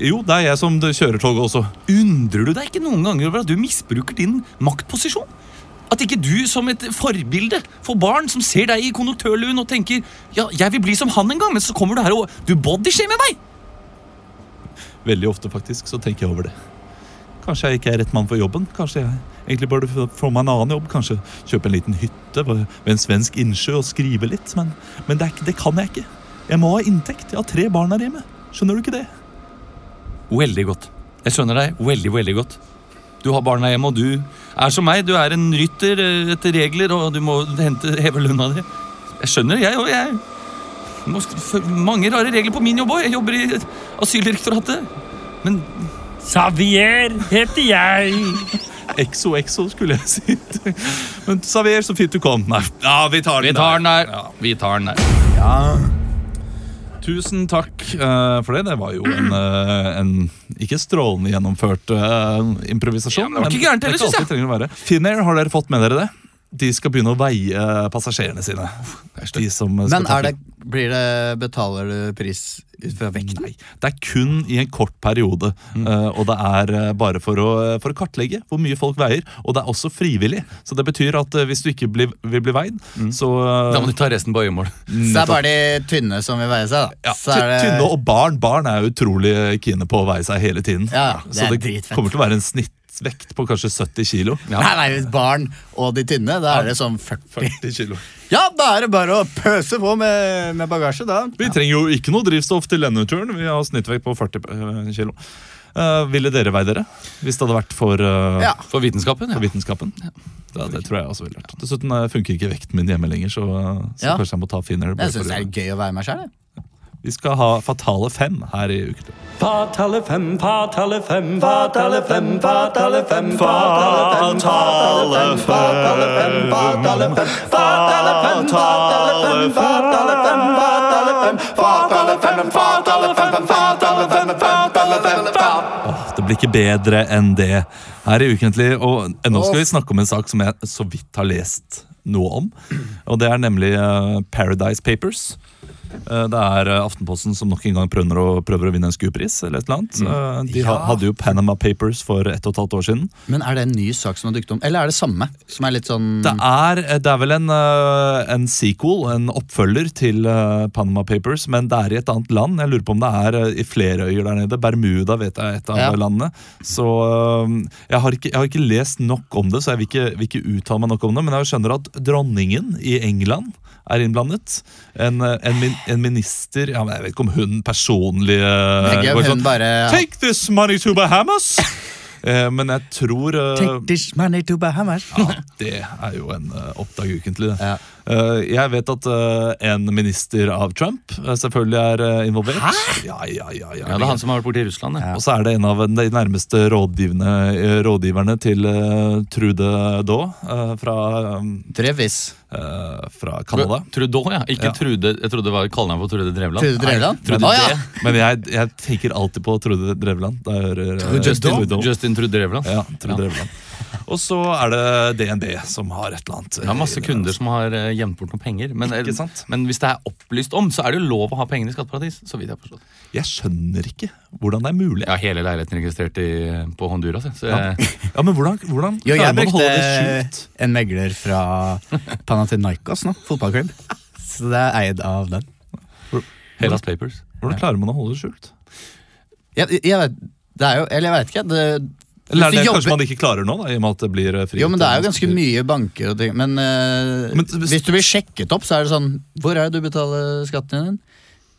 Jo, det er jeg som kjører toget også.
Undrer du deg ikke noen ganger over at du misbruker din maktposisjon? At ikke du som et forbilde for barn som ser deg i konduktørluen og tenker ja, jeg vil bli som han en gang, men så kommer du her og du bodyshamer meg!
Veldig ofte faktisk, så tenker jeg over det. Kanskje jeg ikke er rett mann for jobben. Kanskje jeg egentlig burde få- få meg en annen jobb. Kanskje kjøpe en liten hytte ved ved en svensk innsjø og skrive litt. Men, men det, er ikke, det kan jeg ikke. Jeg må ha inntekt. Jeg har tre barn her hjemme. Skjønner du ikke det?
Veldig godt. Jeg skjønner deg veldig, veldig godt. Du har barna hjemme, og du er som meg. Du er en rytter eh, etter regler, og du må hente, heve lønna di. Jeg skjønner, jeg og jeg. Må sk- f- Mange rare regler på min jobb òg. Jeg jobber i Asyldirektoratet. Men
Xavier heter jeg.
Exo, exo, skulle jeg si. Men Xavier, så fint du kom. Nei, ja, vi tar den der.
der. Vi tar den der.
Tusen takk eh, for det. Det var jo en, eh, en ikke strålende gjennomført eh, improvisasjon.
Ja, men det var ikke gærent heller,
det er ikke
synes jeg.
alt vi trenger å være. Finnair, har dere fått med dere det? De skal begynne å veie eh, passasjerene sine. De som eh, skal
Men
ta
er det,
fly.
blir det, betaler du pris ut fra vekten?
Nei, det er kun i en kort periode.
Mm.
eh, og det er eh, bare for å, for å kartlegge hvor mye folk veier. Og det er også frivillig. Så det betyr at eh, hvis du ikke blir, vil bli veid, så eh,
Mm. Da må du ta resten på øyemål.
Så det er bare de tynne som vil veie seg, da.
Ja,
Så er det,
Tynne og barn. Barn er utrolig kine på å veie seg hele tiden.
Ja, det
så
er
det
dritfett.
kommer til å være en snittvekt på kanskje 70 kilo.
Nei, nei, hvis barn og de tynne, da er det sånn 40.
40 kilo.
Ja, da er det bare å pøse på med, med bagasje, da.
Vi trenger jo ikke noe drivstoff til denne turen. Vi har snittvekt på 40 eh, kilo. Eh, ville dere veie dere hvis det hadde vært for, eh,
Ja.
For vitenskapen, ja.
for vitenskapen? Ja, det tror jeg også ville vært. Dessuten eh, funker ikke vekten min hjemme lenger, så, eh, så
Ja.
kanskje jeg må ta Finnair. bare
Jeg syns
for
det
å-
er gøy å være meg sjæl.
Vi skal ha Fatale fem her i uken.
Fatale fem, fatale fem, fatale fem, fatale fem, fatale fem, fatale fem, fatale fem, fatale fem, fatale fem, fatale fem, fatale fem, fatale fem, fatale fem, fatale fem, fatale fem, fatale fem, fatale fem,
Åh, det blir det ikke bedre enn det her i Ukentlig. Og nå skal vi snakke om en sak som jeg så vidt har lest noe om. Og det er nemlig eh, Paradise Papers. Eh, Det er eh, Aftenposten som nok en gang prøver å, prøver å vinne en SKU-pris. eller et eller annet.
Mm.
Eh, De ha-
Ja.
hadde jo Panama Papers for ett og et halvt år siden.
Men er det en ny sak som har dukket om? Eller er det samme? Som er litt sånn
Mm.
Det er, det er vel en, eh, en sequel, en oppfølger til eh, Panama Papers, men det er i et annet land. Jeg lurer på om det er eh, i flere øyer der nede. Bermuda vet jeg er et av
Ja.
landene. Så eh, jeg har, ikke, jeg har ikke lest nok om det, så jeg vil ikke, vil ikke uttale meg nok om det. Men jeg skjønner at dronningen i England er innblandet. En, eh, en, min, en minister ja, men Jeg vet ikke om hun personlig eh,
Tenker jeg
går
hun
sånn,
bare-
Take this money to Bahamas! Eh, Men jeg tror eh,
Take this money to Bahamas.
ja, det er jo en uh, oppdag ukentlig, det.
Ja.
Eh, jeg vet at eh, en minister av Trump eh, selvfølgelig er eh, involvert. Ja, ja, ja, ja,
Ja, det er han som har vært borte i Russland. Ja.
Og så er det en av de nærmeste rådgivende, eh, rådgiverne til eh, Trude Daa eh, fra,
Trevis.
uh, fra Canada.
Trudeau, ja. Ikke
Ja.
Trude, jeg trodde det var kallenavn på Trude Drevland.
Trude Drevland?
Nei, Trude
Å, ja.
D.
Men jeg, jeg tenker alltid på Trude Drevland. Da jeg hører, eh,
Justin,
Trude Daa.
Justin Trude Drevland.
Ja, Trude Drevland. Og så er det DNB som har et eller annet.
Det er masse kunder som har eh, gjemt bort noen penger. Men,
Ikke sant?
men hvis det er opplyst om, så er det jo lov å ha pengene i skatteparadis. Så vidt jeg har forstått.
Jeg skjønner ikke hvordan det er mulig.
Jeg har hele leiligheten registrert i, på Honduras. jeg, Så
Ja.
jeg,
Ja, men hvordan, hvordan
Jo,
klarer
jeg
man å
brukte
holde det skjult?
en megler fra Panathinaikos nå, fotballklubb. Så det er eid av den.
Hellas Papers.
Hvordan klarer man å holde det skjult?
Jeg, jeg vet, det er jo, eller jeg vet ikke. Det,
Eller
hvis
er det
du
kanskje
jobber-
man ikke klarer nå, da, i og med at det blir eh, frigitt?
jo, men det er jo ganske mye banker og ting. Men, eh,
Men-
hvis du blir sjekket opp, så er det sånn Hvor er det du betaler skatten din?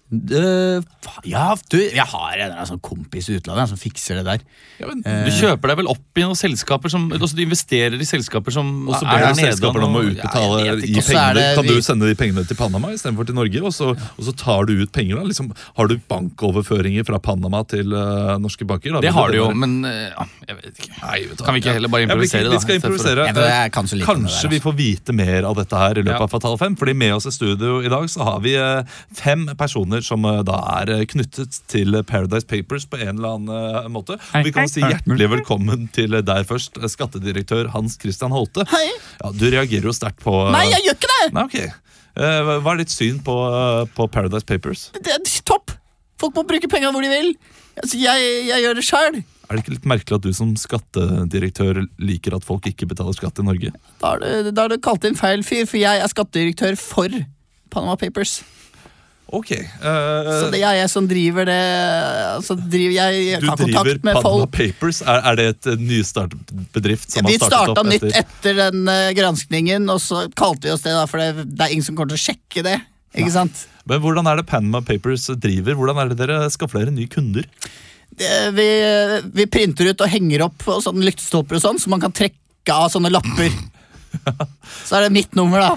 Det- Eh, fa- ja, du, jeg har en eller annen sånn kompis i utlandet som fikser det der.
Ja, men,
Du kjøper deg vel opp i noen selskaper som altså Du investerer i selskaper som
og så
er
ber
der
du
nede,
selskaperne om å
og-
utbetale
Ja, jeg vet
gi
ikke.
Og så er
pengene.
det
Kan du
vi-
sende de pengene til Panama istedenfor til Norge? Og så, og så tar du ut penger, da? Liksom, har du bankoverføringer fra Panama til eh, norske banker? Da?
Det har du jo,
Vil
men eh, ja, jeg vet ikke.
Nei, vet du hva.
Kan vi ikke heller bare
Ja, vi-
improvisere, da,
Vi skal
i stedet for å-
improvisere.
Jeg, tror jeg kan så lite om det
Kanskje
der,
vi får vite mer av dette her i løpet av
Ja.
Fatal 5. Fordi med oss i studio i dag så har vi eh, fem personer som eh, da er eh, knyttet til eh, Paradise Papers på en eller annen eh, måte. Og vi kan si hjertelig velkommen til eh, deg først, eh, skattedirektør Hans Christian Holte.
Hei.
Ja, du reagerer jo sterkt på eh,
Nei, jeg gjør ikke det!
Nei, ok. Eh, hva- Hva er ditt syn på, eh, på Paradise Papers?
Det er topp! Folk må bruke penga hvor de vil. Altså, jeg, jeg gjør det sjøl.
Er det ikke litt merkelig at du som skattedirektør liker at folk ikke betaler skatt i Norge?
Da har du- da har du kalt inn feil fyr, for jeg er skattedirektør for Panama Papers.
Ok. eh,
Så det er jeg som driver det altså, driver, Jeg, jeg
Du
har
driver
kontakt med
Panama
folk.
Papers. Er, er det et eh, nystartet bedrift som
Vi
har startet
starta
opp
nytt
etter?
etter den eh, granskningen, og så kalte vi oss det, da, for det, det er ingen som kommer til å sjekke det. Ikke sant?
Men hvordan er det Panama Papers driver? Hvordan er det dere skaffer dere nye kunder?
Det- Vi, vi printer ut og henger opp og sånne lyktestolper og sånn, så man kan trekke av sånne lapper. Så er det mitt nummer, da.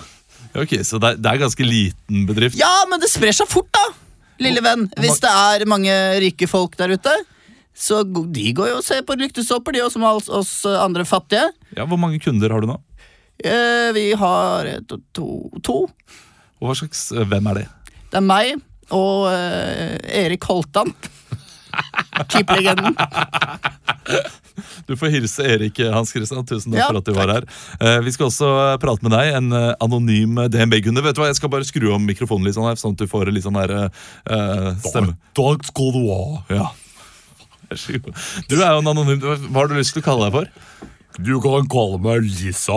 Ok, Så det er, det er ganske liten bedrift.
Ja, men det sprer seg fort, da. Lille venn. Hvis det er mange rike folk der ute, så go- de går jo og ser på lyktestolper, de òg, som oss, oss andre fattige.
Ja, Hvor mange kunder har du nå?
Eh, vi har eh, to, to, to.
Og hva slags, eh, hvem er det?
Det er meg og eh, Erik Holtan. Keeperlegenden.
Du får hilse Erik eh, Hans Christian. Tusen takk
Ja,
for at du var her. Eh, vi skal også eh, prate med deg, en eh, anonym eh, DNB-kunde. Vet du hva, Jeg skal bare skru om mikrofonen litt, sånn her, sånn at du får litt sånn der eh, stemme. Dag skal du ha. Ja. Vær så god. Du er jo en anonym Hva har du lyst til å kalle deg for?
Du kan kalle meg Lisa.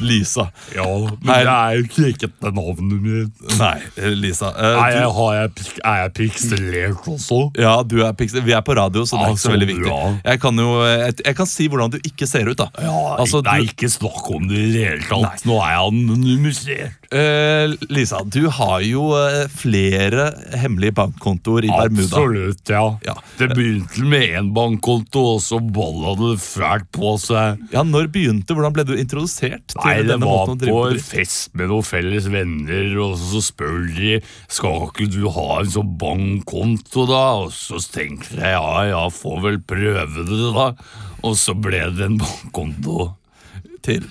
Lisa.
Ja, men
Nei.
det er jo ikke ekte navnet mitt.
Nei, eh, Lisa. eh,
Er jeg,
du,
har jeg, pik- er jeg pikselert også?
ja, du er piksel. Vi er på radio, så det er
Ah,
ikke så veldig
så
viktig.
bra.
Jeg kan jo eh, jeg, jeg kan si hvordan du ikke ser ut, da.
Ja,
Altså,
nei,
du-
ikke snakk om det i det hele tatt. Nå er jeg anonymisert.
Eh, Lisa, du har jo eh, flere hemmelige bankkontoer i Bermuda.
Absolutt, ja.
Ja.
Det begynte med én bankkonto, og så balla det fælt på seg.
Ja, Når begynte Hvordan ble du introdusert til
Nei, det
denne
var
måten å
på
drive
en
bedrift?
fest med noen felles venner, og så spør de skal ikke du ha en sånn bankkonto, da? Og så tenkte jeg ja, ja, får vel prøve det, da. Og så ble det en bankkonto.
til?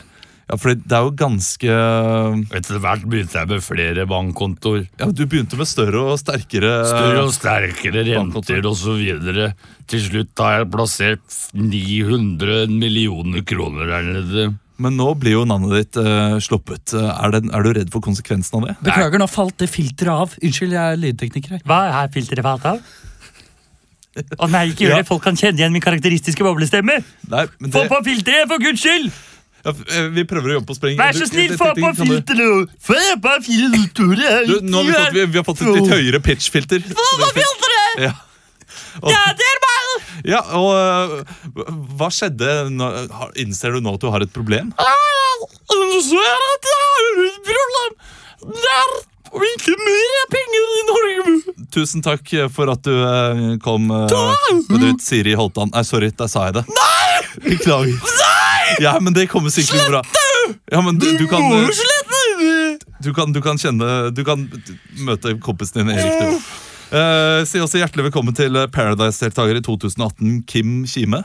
Ja, for det er jo ganske ja,
Etter hvert begynte jeg med flere bankkontoer.
men Du begynte med større og sterkere
Større og sterkere
bankkontor.
renter osv. Til slutt har jeg plassert 900 millioner kroner der nede.
Men nå blir jo navnet ditt eh, sluppet. Er, det, er du redd for konsekvensen av det?
Beklager, nå falt det filteret av. Unnskyld, jeg er lydtekniker her.
Hva er filteret falt av? Å nei, ikke gjør det. Folk kan kjenne igjen min karakteristiske boblestemme.
Nei, men
Få
det,
på filteret, for guds skyld!
ja, f- eh, vi prøver å jobbe på spreng.
Vær
Du-
så
jeg-
snill,
jeg
få
tenkte,
på
kan du-
filteret! Få på filteret!
Du, nå har vi, fått, vi, vi har fått et litt høyere pitch-filter. Ja. Og,
Ja, det er meg!
ja, og øh, hva skjedde? Nå, har- innser du nå at du har et problem?
altså, Ser at jeg har et problem. Det er ikke mer penger i Norge.
Tusen takk for at du øh, kom. øh, med ut, Siri Holtan. Nei, sorry, der sa jeg det. Nei! Beklager. Ja, men det kommer sikkert bra. Ja, men du, du kan, øh, du kan, du kan kjenne Du kan møte kompisen din Erik, du. Eh, si også hjertelig velkommen til eh, Paradise-deltaker i 2018, Kim Kime.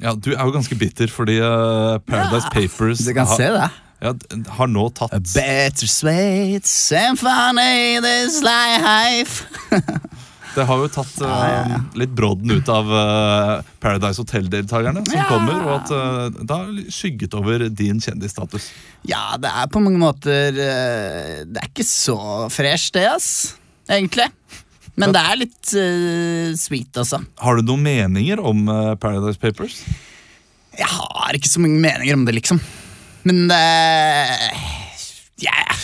Ja, Du er jo ganske bitter fordi eh, Paradise Papers
Du kan
har,
se det.
ja, d- har nå tatt
Better sweet symphony this life.
Det har jo tatt eh, litt brodden ut av eh, Paradise Hotel-deltakerne som kommer, og at eh, det har skygget over din kjendisstatus.
Ja, det er på mange måter eh, Det er ikke så fresh, det, ass. Egentlig. Men det er litt eh, sweet, altså.
Har du noen meninger om eh, Paradise Papers?
Jeg har ikke så mange meninger om det, liksom. Men eh, jeg,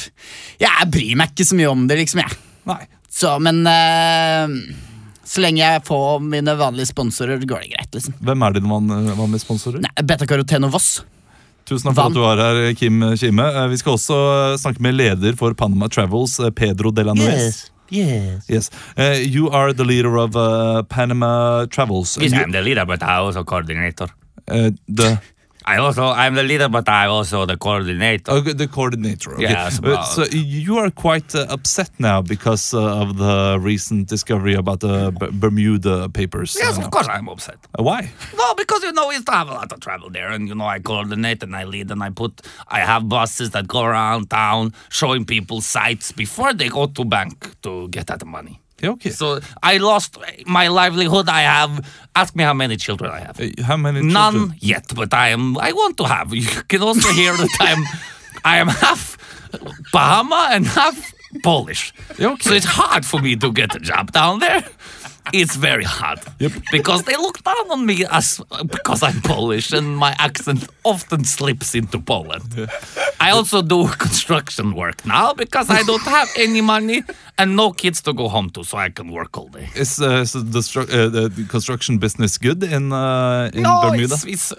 jeg bryr meg ikke så mye om det, liksom. jeg.
Nei.
Så, men eh, så lenge jeg får mine vanlige sponsorer, går det greit. liksom.
Hvem er dine van- eh, vanlige sponsorer?
Nei, Betakaroteno Voss.
Tusen takk for
Van.
at du var her, Kim Kime. Eh, Vi skal også eh, snakke med leder for Panama Travels, eh, Pedro de la Nuez. Yes. Eh, you are the leader of eh, Panama Travels. You-
the leader, but I also coordinator.
eh, the,
I also, I'm the leader, but I also the coordinator.
oh, the coordinator. Okay.
Yeah, it's
Uh,
about-
so you are quite uh, upset now because uh, of the recent discovery about the B- Bermuda papers.
Yes,
Uh,
of course I'm upset.
uh, why?
No, because you know we used to have a lot of travel there, and you know I coordinate and I lead and I put. I have buses that go around town showing people sites before they go to bank to get that money.
Yeah, okay.
So I lost my livelihood. I have. Ask me how many children I have.
Uh, How many?
None
children?
yet, but I am. I want to have. You can also hear that I'm. I am half Bahama and half Polish. So it's hard for me to get a job down there. It's very hard because they look down on me as because I'm Polish and my accent often slips into Poland. I also do construction work now because I don't have any money and no kids to go home to, so I can work all day.
Is, uh, is the, stru- uh, the the construction business good in uh, in
no,
Bermuda?
It's, it's,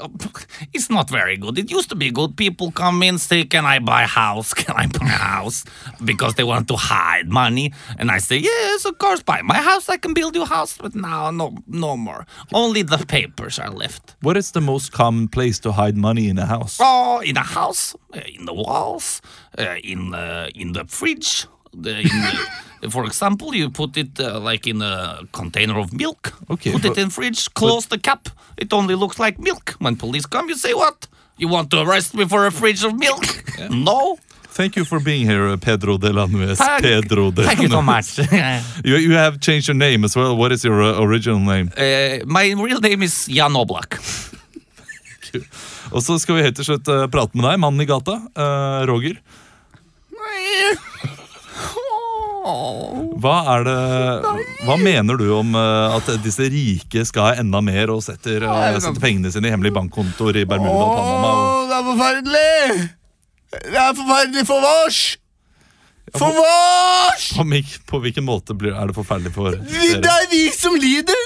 it's not very good. It used to be good. People come in, say, Can I buy a house? Can I buy a house? Because they want to hide money. And I say, Yes, of course, buy my house. I can build you a house. But now, no, no more. Only the papers are left.
What is the most common place to hide money in a house?
Oh, in the house, uh, in the walls, uh, in the in the fridge. The, in the, for example, you put it uh, like in a container of milk.
Okay,
Put
but-
it in fridge. Close the cap. It only looks like milk. When police come, you say what? You want to arrest me for a fridge of milk? No.
Thank you for being here, uh, Pedro de la Nuez.
Thank-
Pedro de
Thank
la
you so
Nuez.
much. uh,
You, you have changed your name as well. What is your uh, original name?
Eh. my real name is Jan Oblak.
Og så skal vi helt til slutt eh, prate med deg, mannen i gata. eh, Roger. Hva er det Hva mener du om eh, at disse rike skal ha enda mer og setter, eh, setter pengene sine i hemmelige bankkontoer i Bermuda og Panama? Og,
det er forferdelig! Det er forferdelig for vårs! For vårs!
på, mik- på hvilken måte blir, er det forferdelig for
Vi- Det
dere?
er vi som lider!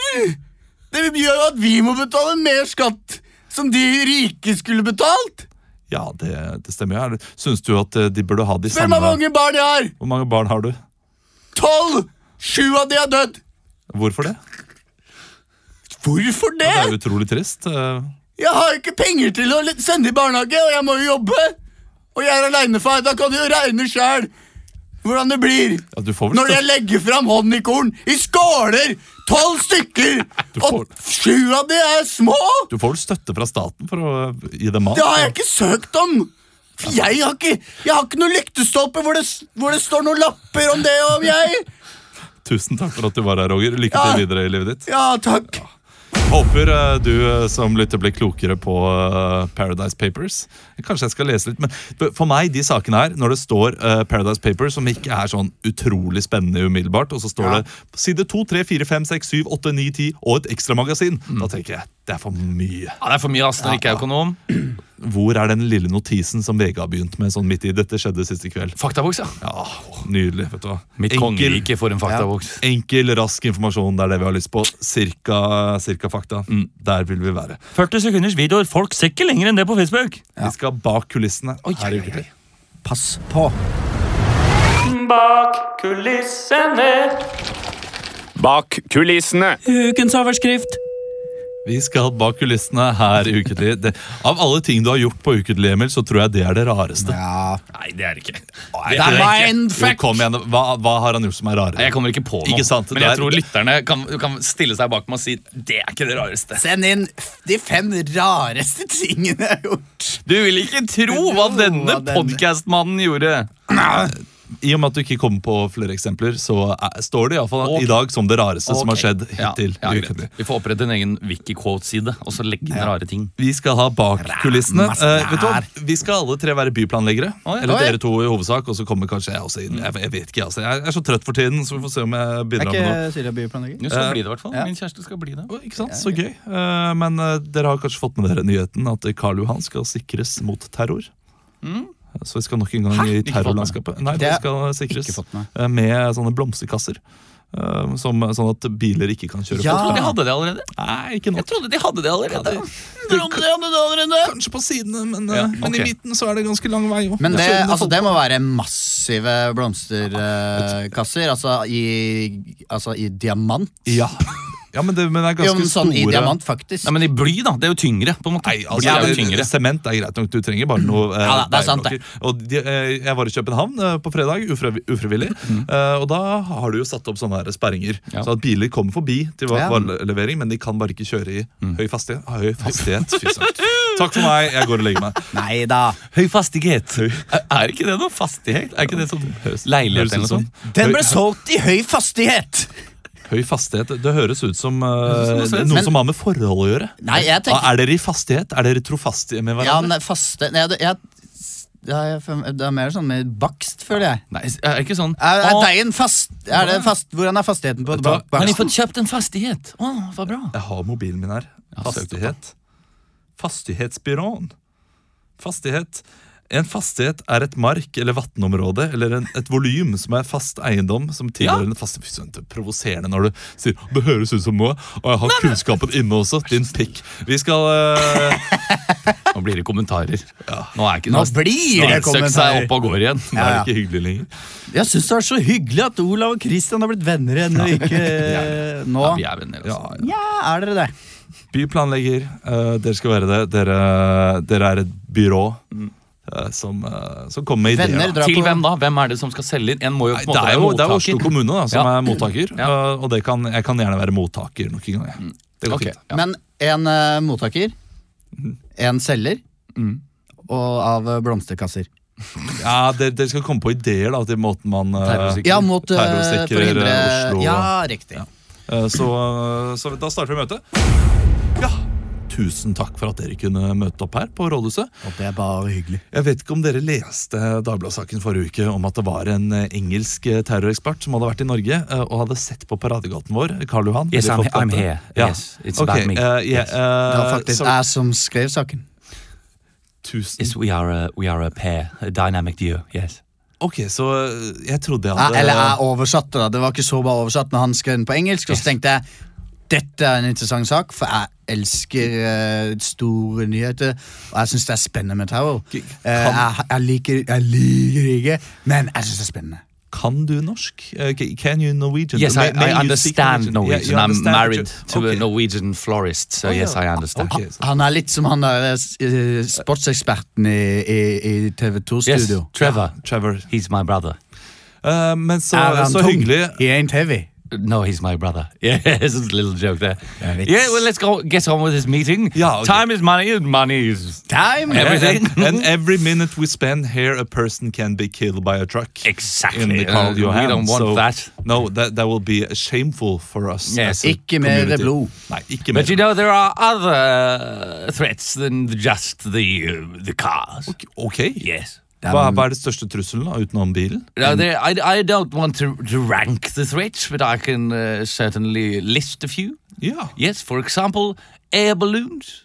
Det gjør jo at vi må betale mer skatt som de rike skulle betalt.
Ja, det, det stemmer jo. Er det- Syns du at eh, de burde ha de
Spør meg hvor
samme
mange barn jeg har!
Hvor mange barn har du?
Tolv! Sju av de er dødd.
Hvorfor det?
Hvorfor
Det er
det?
utrolig trist. eh.
Jeg har ikke penger til å le- sende i barnehage, og jeg må jo jobbe. Og jeg er aleinefar. Da kan du jo regne sjæl hvordan det blir
Ja, du får vel
når jeg
støtte.
legger fram honningkorn i skåler
tolv stykker!
får-
Og sju av de er små!
Du får vel støtte fra staten for å eh, gi dem mat?
Det har jeg ikke søkt om! For Jeg har ikke, jeg har ikke noen lyktestolper hvor det, s- hvor det står noen lapper om det og om jeg.
Tusen takk for at du var her, Roger. Lykke
Ja.
til videre i livet ditt.
Ja, takk.
Håper eh, du eh, som lytter blir klokere på eh, Paradise Papers. Kanskje jeg skal lese litt, men for- for meg, de sakene her, når det står eh, Paradise Papers, som ikke er sånn utrolig spennende umiddelbart, og så står det side 2, 3, 4, 5, 6, 7, 8, 9, 10 og et ekstramagasin,
Mm.
da tenker jeg det er for mye.
Ja, det er for mye, ass, når jeg ikke er økonom.
Hvor er den lille notisen som VG har begynt med sånn midt i 'dette skjedde siste kveld'?
Faktaboks, ja.
Ja, Nydelig. vet du hva.
Mitt
Enkel-
kongerike for en faktaboks.
Enkel, rask informasjon. Det er det vi har lyst på. Cirka, cirka fakta.
Mm.
Der vil vi være.
40 sekunders videoer. Folk ser ikke lenger enn det på Facebook.
Vi skal bak kulissene. Her i Ukentlig.
Pass på.
Bak kulissene.
Bak kulissene.
Ukens overskrift.
Vi skal bak kulissene her i Ukentlig. Det, av alle ting du har gjort på Ukentlig, Emil, så tror jeg det er det rareste.
Nei, det er det ikke.
Det
er
Jo, kom igjen. Hva, hva har han gjort som er
Nei, Jeg
rarere?
kommer ikke på noe.
Ikke sant, det
Men jeg
er-
tror lytterne kan, kan stille seg bak meg og si det er ikke det rareste.
Send inn de fem rareste tingene jeg har gjort.
Du vil ikke tro hva
Hva
denne
denne-
podcastmannen gjorde.
I og med at du ikke kommer på flere eksempler, så er, står det iallfall i dag som det rareste som har skjedd hittil.
Ja,
i
ja,
Ukentlig.
greit. Vi får opprette en egen Wikiquote-side og så legge inn rare ting.
Vi skal ha bak kulissene.
masse
Eh, vet du hva?
rær.
Vi skal alle tre være byplanleggere.
Oi.
Eller
Oi.
dere to i hovedsak, og så kommer kanskje jeg også inn. Jeg, jeg vet ikke, altså. Jeg er så trøtt for tiden, så vi får se om jeg
Er
bidrar med noe.
ikke Eh, Silja byplanlegger?
Du skal bli det, i hvert fall.
ja.
Min kjæreste skal bli det.
Å, Ikke sant? Så gøy. Eh, Men eh, dere har kanskje fått med dere nyheten at Karl Johan skal sikres mot terror. Så vi skal nok en gang i
Mm. Ikke fått med.
terrorlandskapet. Nei,
Det
det
har
skal sikres
ikke fått med.
eh, med sånne blomsterkasser. eh, Som, sånn at biler ikke kan kjøre
Ja.
forbi.
De hadde det allerede.
Nei, ikke nå.
Jeg trodde de hadde det allerede.
Kanskje på sidene, men, eh,
Ja,
men i
ok.
midten så er det ganske lang vei òg.
Men det, altså, det må være massive blomsterkasser. Altså i, altså i diamant.
Ja. ja, men det, men det er ganske
Jo, men sånn i
store
diamant, faktisk.
Nei, men i bly, da. Det er jo tyngre. på en måte.
Nei, altså,
Bly er jo
det-
tyngre.
Sement er greit nok, du trenger bare noe eh,
Ja, det er sant, det.
veiblokker. Og de, eh, jeg var i København eh, på fredag, ufra- ufrivillig, eh, og da har du jo satt opp sånne her sperringer.
Ja.
Så at biler kommer forbi til va-
Ja.
varelevering, men de kan bare ikke kjøre i høy fastighet. Ah, høy fastighet. Fy søren. Takk for meg, jeg går og legger meg.
Nei da.
Høy fastighet. Er er ikke det noe fastighet? Er ikke det sånn leilighet eller noe
Høres ut som-
sånt?
Den
høy,
ble solgt i høy fastighet!
høy fastighet, det høres ut som eh,
svensk.
noe
Men-
som har med forhold å gjøre.
Nei, jeg tenker
Ah, er dere i fastighet? Er dere trofastige med
Ja,
hverandre?
men det er faste Nei, det, jeg, det, er, det er mer sånn med bakst, føler jeg.
Nei, er det ikke sånn
Er, er
Å,
deigen fast? Er det fast hvordan er fastigheten på
hva?
bak,
Har de
baksten?
fått kjøpt en fastighet? Å, hva bra.
Jeg har mobilen min her. Fastighet. Fastighetsbyråen. Fastighet. En fastighet er et mark eller vatnområde eller en, et volum som er fast eiendom som tilhører en fast Fy søren, det er provoserende når du sier det høres ut som noe, og jeg har kunnskapen inne også. Din pikk. Vi skal eh,
Nå blir det kommentarer. Nå er ikke
Nå blir det
Søk
kommentarer!
seg opp og går igjen.
Det er
Ja, ja.
ikke hyggelig lenger.
Jeg syns det er så hyggelig at Olav og Christian har blitt venner igjen, og ikke eh, nå.
Vi er venner, altså.
Ja, er dere det?
Byplanlegger, eh, dere skal være det. Dere, dere er et byrå eh, som, eh, som kommer med ideer.
Mm. Venner
da.
drar
Til
på
hvem da? Hvem er det som skal selge inn? En må jo
Nei,
på
det
en måte
er jo det er Oslo
mottaker.
kommune da, som
Ja.
er mottaker,
Ja.
øh, og det kan, jeg kan gjerne være mottaker nok en gang. jeg.
Mm.
Det går
Ok,
fint.
ja.
Men en eh, mottaker, en selger,
Mm.
og av eh, blomsterkasser.
Ja, dere, dere skal komme på ideer da, til måten man øh,
Terrorsikring.
Ja, mot eh,
Terrorsikrer,
forhindre
eh, Oslo.
Ja, riktig.
øh, så, øh, så da starter vi møtet. Ja, tusen takk for at dere kunne møte opp her på Rådhuset.
Og det er bare hyggelig.
Jeg vet ikke om dere leste Dagbladsaken forrige uke om at det var en eh, engelsk eh, terrorekspert som hadde vært i Norge eh, og hadde sett på paradegaten vår, Karl Johan.
Yes,
Veldig
I'm-
flott,
I'm
dette.
here.
Ja.
Yes, it's about
Ok,
me.
eh, yeah,
Yes.
Det var
eh,
faktisk
så,
jeg som skrev saken.
tusen
Yes, we are a, we are a pair, a dynamic duo. Yes.
Ok, så eh, jeg trodde jeg
Ja,
hadde
eller jeg oversatte det. Det var ikke så bra oversatt når han skrev den på engelsk. Og så tenkte jeg dette er en interessant sak, for jeg elsker eh, store nyheter. Og jeg syns det er spennende med terror.
Kan-
Eh, jeg, jeg liker jeg liker det ikke, men jeg syns det er spennende.
Kan du norsk? Uh, ca- can you Norwegian?
Yes, I,
May- may
I
you speak
understand
Yeah,
Norwegian.
you
I'm
understand, but
married
you-
to
Okay.
a Norwegian florist, so
Oh,
yes,
yeah.
I understand.
Okay, so-
Han er litt som han der eh, sportseksperten i, i, i TV
Yes,
2-studio.
Trevor,
Oh, Trevor.
he's my brother.
Eh, men så,
Er han
så
tung?
hyggelig.
He ain't heavy.
No, he's my brother. Yeah, it's a little joke there. Yeah, well, let's go get on with this meeting.
Yeah, okay.
Time is money, and money is
Time!
everything.
And, and every minute we spend here, a person can be killed by a truck.
exactly.
In the
Uh,
Karl Johan.
we don't want
so,
that.
No, that, that will be shameful for us.
Yes.
as a
Ikke mer
community.
blod.
Nei, ikke mer.
But you know, there are other uh, threats than just the uh, the cars.
Ok.
Yes.
Hva, hva er det største trusselen da, utenom bilen?
No, there, I, I don't want to, to rank the threats, but I can uh, certainly list a few.
Ja.
Yes, for example, air balloons.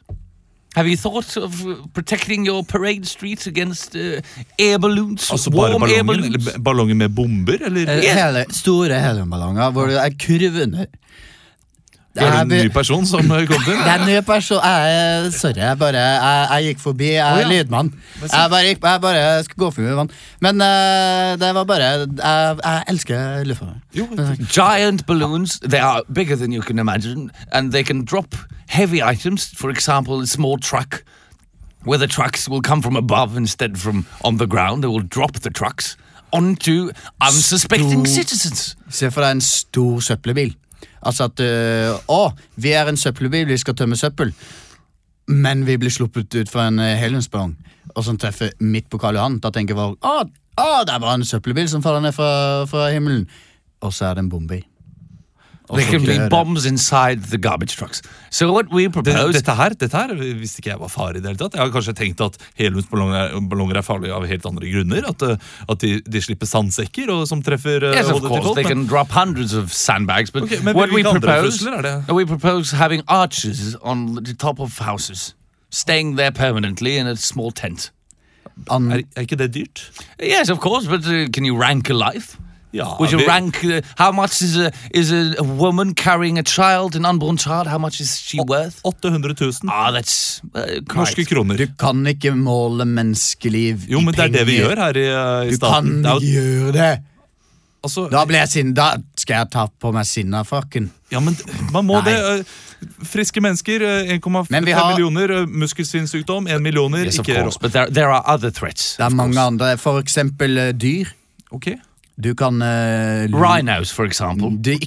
Have you thought of uh, protecting your parade streets against uh, air balloons?
Altså bare
warm air
ballongen?
balloons?
Eller ballongen med bomber, eller?
Eh, Hele, store heliumballonger hvor det er kurv under.
Eh,
Det
er det
er,
en
be-
ny person som eh, kom til?
det er en ny person jeg, eh, Sorry, jeg bare Jeg, jeg gikk forbi. Jeg er lydmann. Jeg bare, gikk, jeg bare skulle gå forbi vann. Men eh, det var bare Jeg, jeg elsker lufthavn.
Giant balloons, they are bigger than you can imagine, and they can drop heavy items. For example, a small truck, where the trucks will come from above instead from on the ground. They will drop the trucks onto unsuspecting citizens.
Se for deg en stor søppelbil. Altså at øh, Å, vi er en søppelbil, vi skal tømme søppel. Men vi blir sluppet ut fra en øh, heliumsballong, og som treffer midt på Karl Johan. Da tenker folk å, å, der var en søppelbil som faller ned fra, fra himmelen. Og så er det en bombe i. Og
Oh,
There
så
can
dør
be
det.
bombs inside the garbage trucks. So what we
Det,
propose
dette, her, dette her visste ikke jeg var farlig. i det hele tatt. Jeg har kanskje tenkt at helhundsballonger er, ballonger er farlige av helt andre grunner. At, eh, at de, de slipper sandsekker og, som treffer eh,
Yes, of
hodet til
course,
folk.
they
men-
can drop hundreds of sandbags, but
Okay, maybe
what
we
we
can't
propose,
refuse,
Uh,
Leonard, yeah.
we propose having arches on the top of houses, staying there permanently in a small tent.
An,
Er, er ikke det dyrt?
Yes, of course, but uh, can you rank a life?
Ja,
Would you
vi-
rank uh, how much is a is a, a woman carrying a child, an unborn child? How much is she worth?
800 000
Ah, that's uh,
norske
quite.
kroner.
du kan ikke måle menneskeliv
Jo,
i
men det er det vi
penger.
gjør her i, eh, i
Du kan
staten. Det
ikke
er jo-
gjøre det!
altså-
Da blir jeg sinna. Da skal jeg ta på meg sinnafrakken.
Ja, men man må
Nei.
det. eh, Friske mennesker, eh, 1,5
Men vi har-
millioner. eh, Muskelsvinnsykdom, 1 millioner.
Yes, of
ikke
course, but there there are other threats.
Det er mange andre. For eksempel øh, dyr.
Ok.
Du kan øh, lu-
Rhinos, for example.
Det er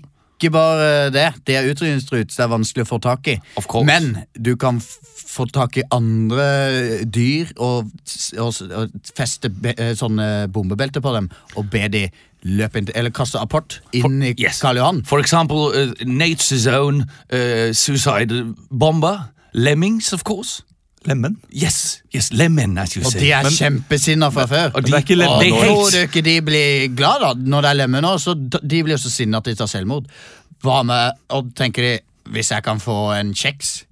ikke bare det. Det er utrydningstruet, så det er vanskelig å få tak i.
Of course.
Men du kan f- få tak i andre dyr og, s- og, s- og feste be, eh, sånne bombebelter på dem og be de løpe inn til Eller kaste apport inn i
yes.
Karl Johan.
For example, uh, nature's own uh, suicide bomber, lemmings, of course.
Lemmen.
Yes, yes, lemon, as you
Og
say.
de er kjempesinna fra før.
Og
det er ikke lemmer
Og
they
nå.
tror du
hate.
ikke de blir glad da, når det er lemmer nå? Så d- de blir jo så sinna at de tar selvmord. Hva med Og tenker de hvis jeg kan få en kjeks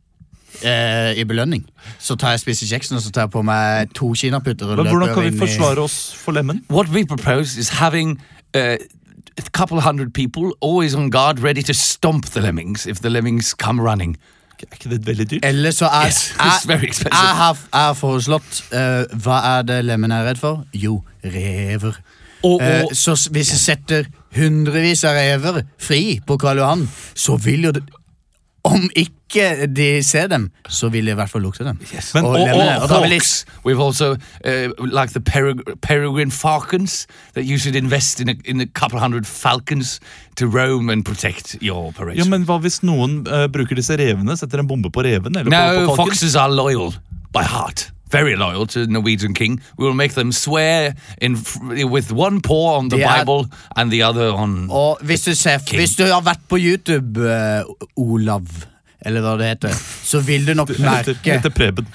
eh, i belønning, så tar jeg spiser kjeksen og så tar jeg på meg to kinaputter og
Men hvordan kan vi
løper inn i
forsvare oss for lemmen?
What we propose is having uh, a couple hundred people always on guard, ready to stomp the lemmings if the lemmings come running.
Er ikke det veldig dyrt?
Eller så er
Yes, it's
jeg,
very
jeg,
expensive.
har, jeg har foreslått eh, Hva er det lemmen er redd for? Jo, rever.
Og-
Eh,
og-
så s- hvis jeg setter hundrevis av rever fri på Karl Johan, så vil jo det Om ikke de ser dem, så vil de i hvert fall lukte dem.
Men-
og,
og-
lemmen er-
Or
og da vil de,
hawks. We've also uh, like the peregr- peregrine falcons that you should invest in a, in a couple hundred falcons to roam and protect your parade.
Ja, men Hva hvis noen eh, bruker disse revene, setter en bombe på reven? Eller på,
No,
på falken?
foxes are loyal by heart. Very loyal to the Norwegian king. We will make them swear in f- with one paw on the
They are-
Bible and the other on.
og hvis du ser Hvis du har vært på YouTube, eh, Olav, eller hva det heter, så vil du nok
Etter,
merke
etter Preben.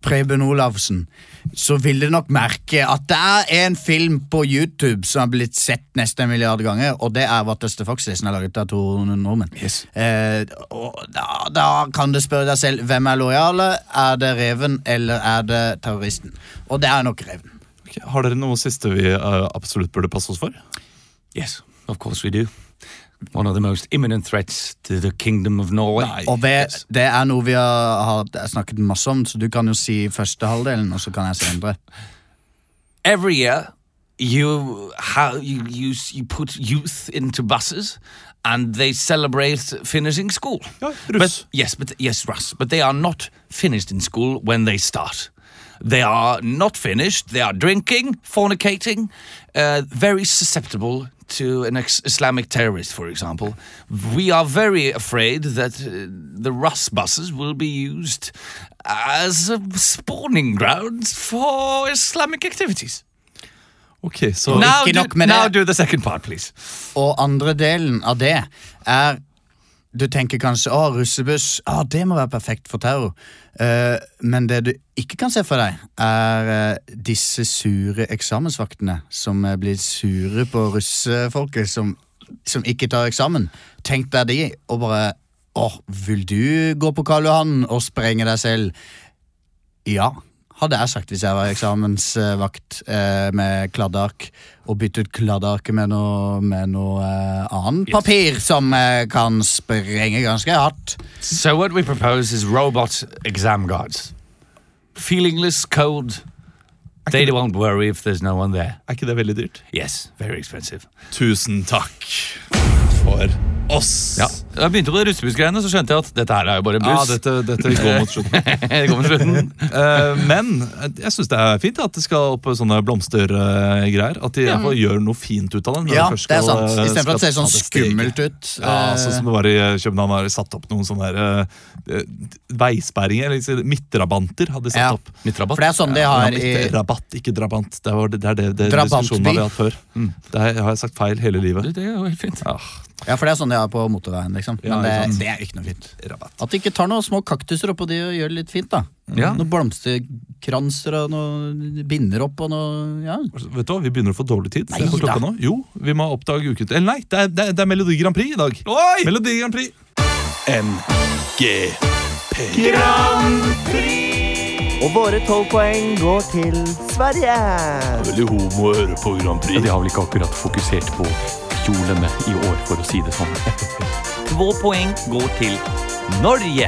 Preben Olavsen, så vil du nok merke at det er en film på YouTube som har blitt sett nesten en milliard ganger, og det er Vatteste Foxy, som er laget av to nordmenn. Eh, og da, da kan du spørre deg selv hvem er lojale. Er det reven, eller er det terroristen? Og det er nok reven.
Ok, Har dere noe siste vi eh, absolutt burde passe oss for?
Yes, of course we do. One of the most imminent threats to the kingdom of Norway.
Og det, det er noe vi har, har snakket masse om, så du kan jo si første halvdelen, og så kan jeg si andre.
every year you how you, you you put youth into buses and they celebrate finishing school.
Yeah, Rus.
but, yes, but yes, Rus. But they are not finished in school when they start. They are not finished. They are drinking, fornicating, uh, very susceptible to an ex- Islamic terrorist, for example, we are very afraid that uh, the Rus buses will be used as a spawning grounds for Islamic activities.
Ok, så
now,
ikke
do,
nok med det.
now do the second part, please.
Og andre delen av det er Du tenker kanskje å, russebuss, å, det må være perfekt for terror. Eh, men det du ikke kan se for deg, er eh, disse sure eksamensvaktene som eh, blir sure på russefolket som, som ikke tar eksamen. Tenk deg de, og bare Å, vil du gå på Karl Johan og sprenge deg selv? Ja, hadde jeg sagt hvis jeg var eksamensvakt eh, med kladdeark, og bytte ut kladdearket med noe, med noe eh, annet papir som eh, kan sprenge ganske hardt.
So what we propose is robot exam guards. Feelingless, cold. They won't worry if there's no one there.
er ikke det veldig dyrt?
Yes, very expensive.
Tusen takk for oss.
Ja. Da jeg begynte på det russebussgreiene, så skjønte jeg at dette her er jo bare en
Ja,
buss.
dette, dette går mot slutten.
det kommer til slutten.
Eh, men jeg syns det er fint at det skal opp sånne blomstergreier. At de i hvert fall gjør noe fint ut av Mm. det. når
Ja,
de
det
først
er
skal,
sant.
eh,
Istedenfor at det ser
skal
sånn
ta steget.
skummelt ut.
Ja,
eh,
sånn som det var i København. Har de satt opp noen sånne der, eh, veisperringer, eller liksom midtrabanter. hadde de satt
Ja.
opp.
For det er sånn de har i
Ja, eh, Rabatt, ikke drabant. Det, var, det er det, det
Drabantby.
diskusjonen vi har hatt før. Det her har jeg sagt feil hele livet. Ah,
Det er jo helt fint.
Ja, for det er sånn de har på motorveien, liksom. Men
Ja,
det,
ikke sant.
det er ikke noe fint.
Rabatt.
At de ikke tar noen små kaktuser oppå de og gjør det litt fint, da.
Ja.
Noen blomsterkranser og noen binder opp og noe ja.
Vet du hva, Vi begynner å få dårlig tid. Se
Nei
på
da.
klokka nå. Jo, vi må oppdage ukent... Eller nei, det er, det er, det er Melodi Grand Prix i dag. Oi! Melodi Grand Prix.
Og våre tolv poeng går til Sverige.
De har vel ikke akkurat fokusert på kjolene i år, for å si det sånn.
Två poeng går til Norge.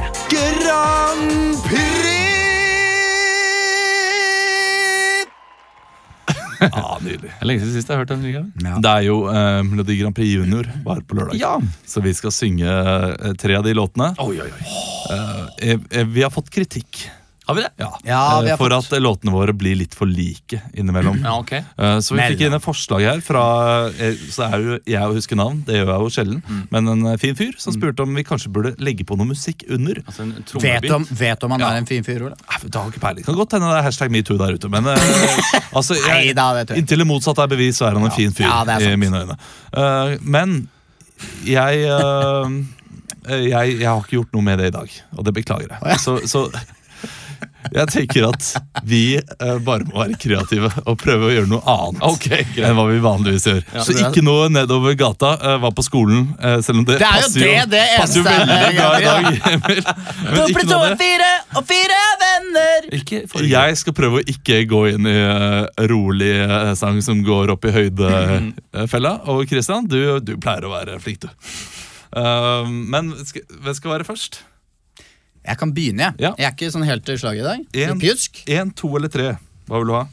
Ja, nydelig.
Det er lenge siden sist jeg har hørt den. Rikard.
Det er jo eh, Melodi Grand Prix Junior bare på lørdag. Så vi skal synge eh, tre av de låtene. Eh, eh, vi har fått kritikk
Har vi det?
Ja,
eh,
vi har
for
fått-
at låtene våre blir litt for like innimellom.
Ja, ok.
Eh, Så vi fikk inn et forslag her fra eh, Så er jo jeg å huske navn, det gjør jeg jo sjelden.
Mm.
Men en eh, fin fyr som spurte om vi kanskje burde legge på noe musikk under.
Altså en
Vet
trommebit.
om, vet om han er en fin fyr, Ole?
Nei, men Det har ikke peiling. Kan godt hende det er hashtag metoo der ute, men eh, altså, jeg,
Neida, vet du.
Inntil det motsatte er bevis, så er han en fin fyr.
Ja, det er sant.
I mine øyne. Eh, men jeg, eh, jeg Jeg har ikke gjort noe med det i dag, og det beklager jeg. Så, så jeg tenker at vi eh, bare må være kreative og prøve å gjøre noe annet enn hva vi vanligvis gjør. Så ikke noe nedover gata. eh, var på skolen, eh, selv om det,
Det er jo
passer
det, det
passer jo
eneste er-
veldig bra i dag. Emil. Men ikke noe av det.
fire, og fire venner!
Ikke forrige.
Jeg skal prøve å ikke gå inn i eh, rolig eh, sang som går opp i høydefella. Og Christian, du, du pleier å være flink, du. Eh, men skal, hvem skal være først?
Jeg kan begynne, jeg.
Ja.
Jeg er ikke sånn helt til slaget i dag.
En-
Litt Pjusk.
Én, to eller tre? Hva vil du ha?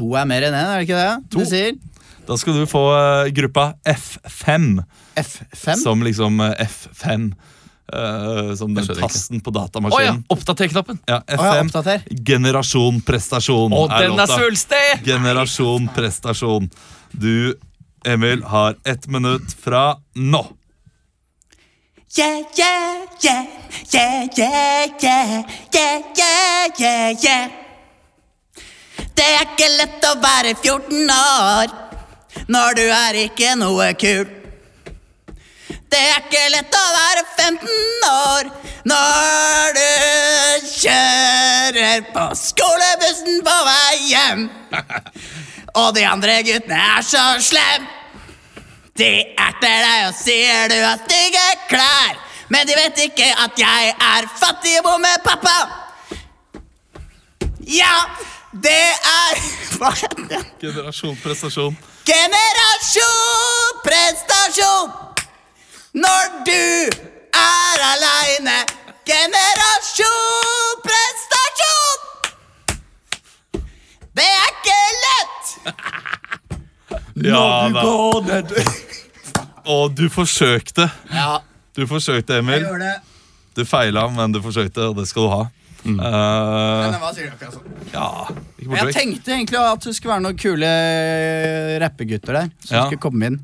To er mer enn én, er det ikke det?
To.
Du sier
Da skal du få eh, gruppa F5,
F5.
som liksom eh, F5. eh, som den
skjønner ikke.
tasten på
Å ja!
datamaskinen.
Oppdater-knappen.
ja.
Å ja,
F5.
oppdater.
Generasjon prestasjon.
Og den er
låta.
svulstig!
Generasjon prestasjon. Du, Emil, har ett minutt fra nå.
Yeah, yeah, yeah, yeah, yeah, yeah, yeah, yeah, yeah, yeah. Det er ikke lett å være 14 år når du er ikke noe kul. Det er ikke lett å være 15 år når du kjører på skolebussen på vei hjem. Og de andre guttene er så slemme. De erter deg og sier du har stygge klær. Men de vet ikke at jeg er fattigbomepappa. Ja, det er Hva heter det?
Generasjon prestasjon.
Generasjon prestasjon når du er aleine. Generasjon prestasjon! Det er ikke lett!
Ja da. Og du forsøkte. Du forsøkte, Emil.
Gjør det.
Du feila, men du forsøkte, og det skal du ha. Eh,
hva sier du akkurat sånn?
ja ikke
Men
borte
Jeg
vekk.
tenkte egentlig at det skulle være noen kule eh, rappegutter der som
Ja.
skulle komme inn.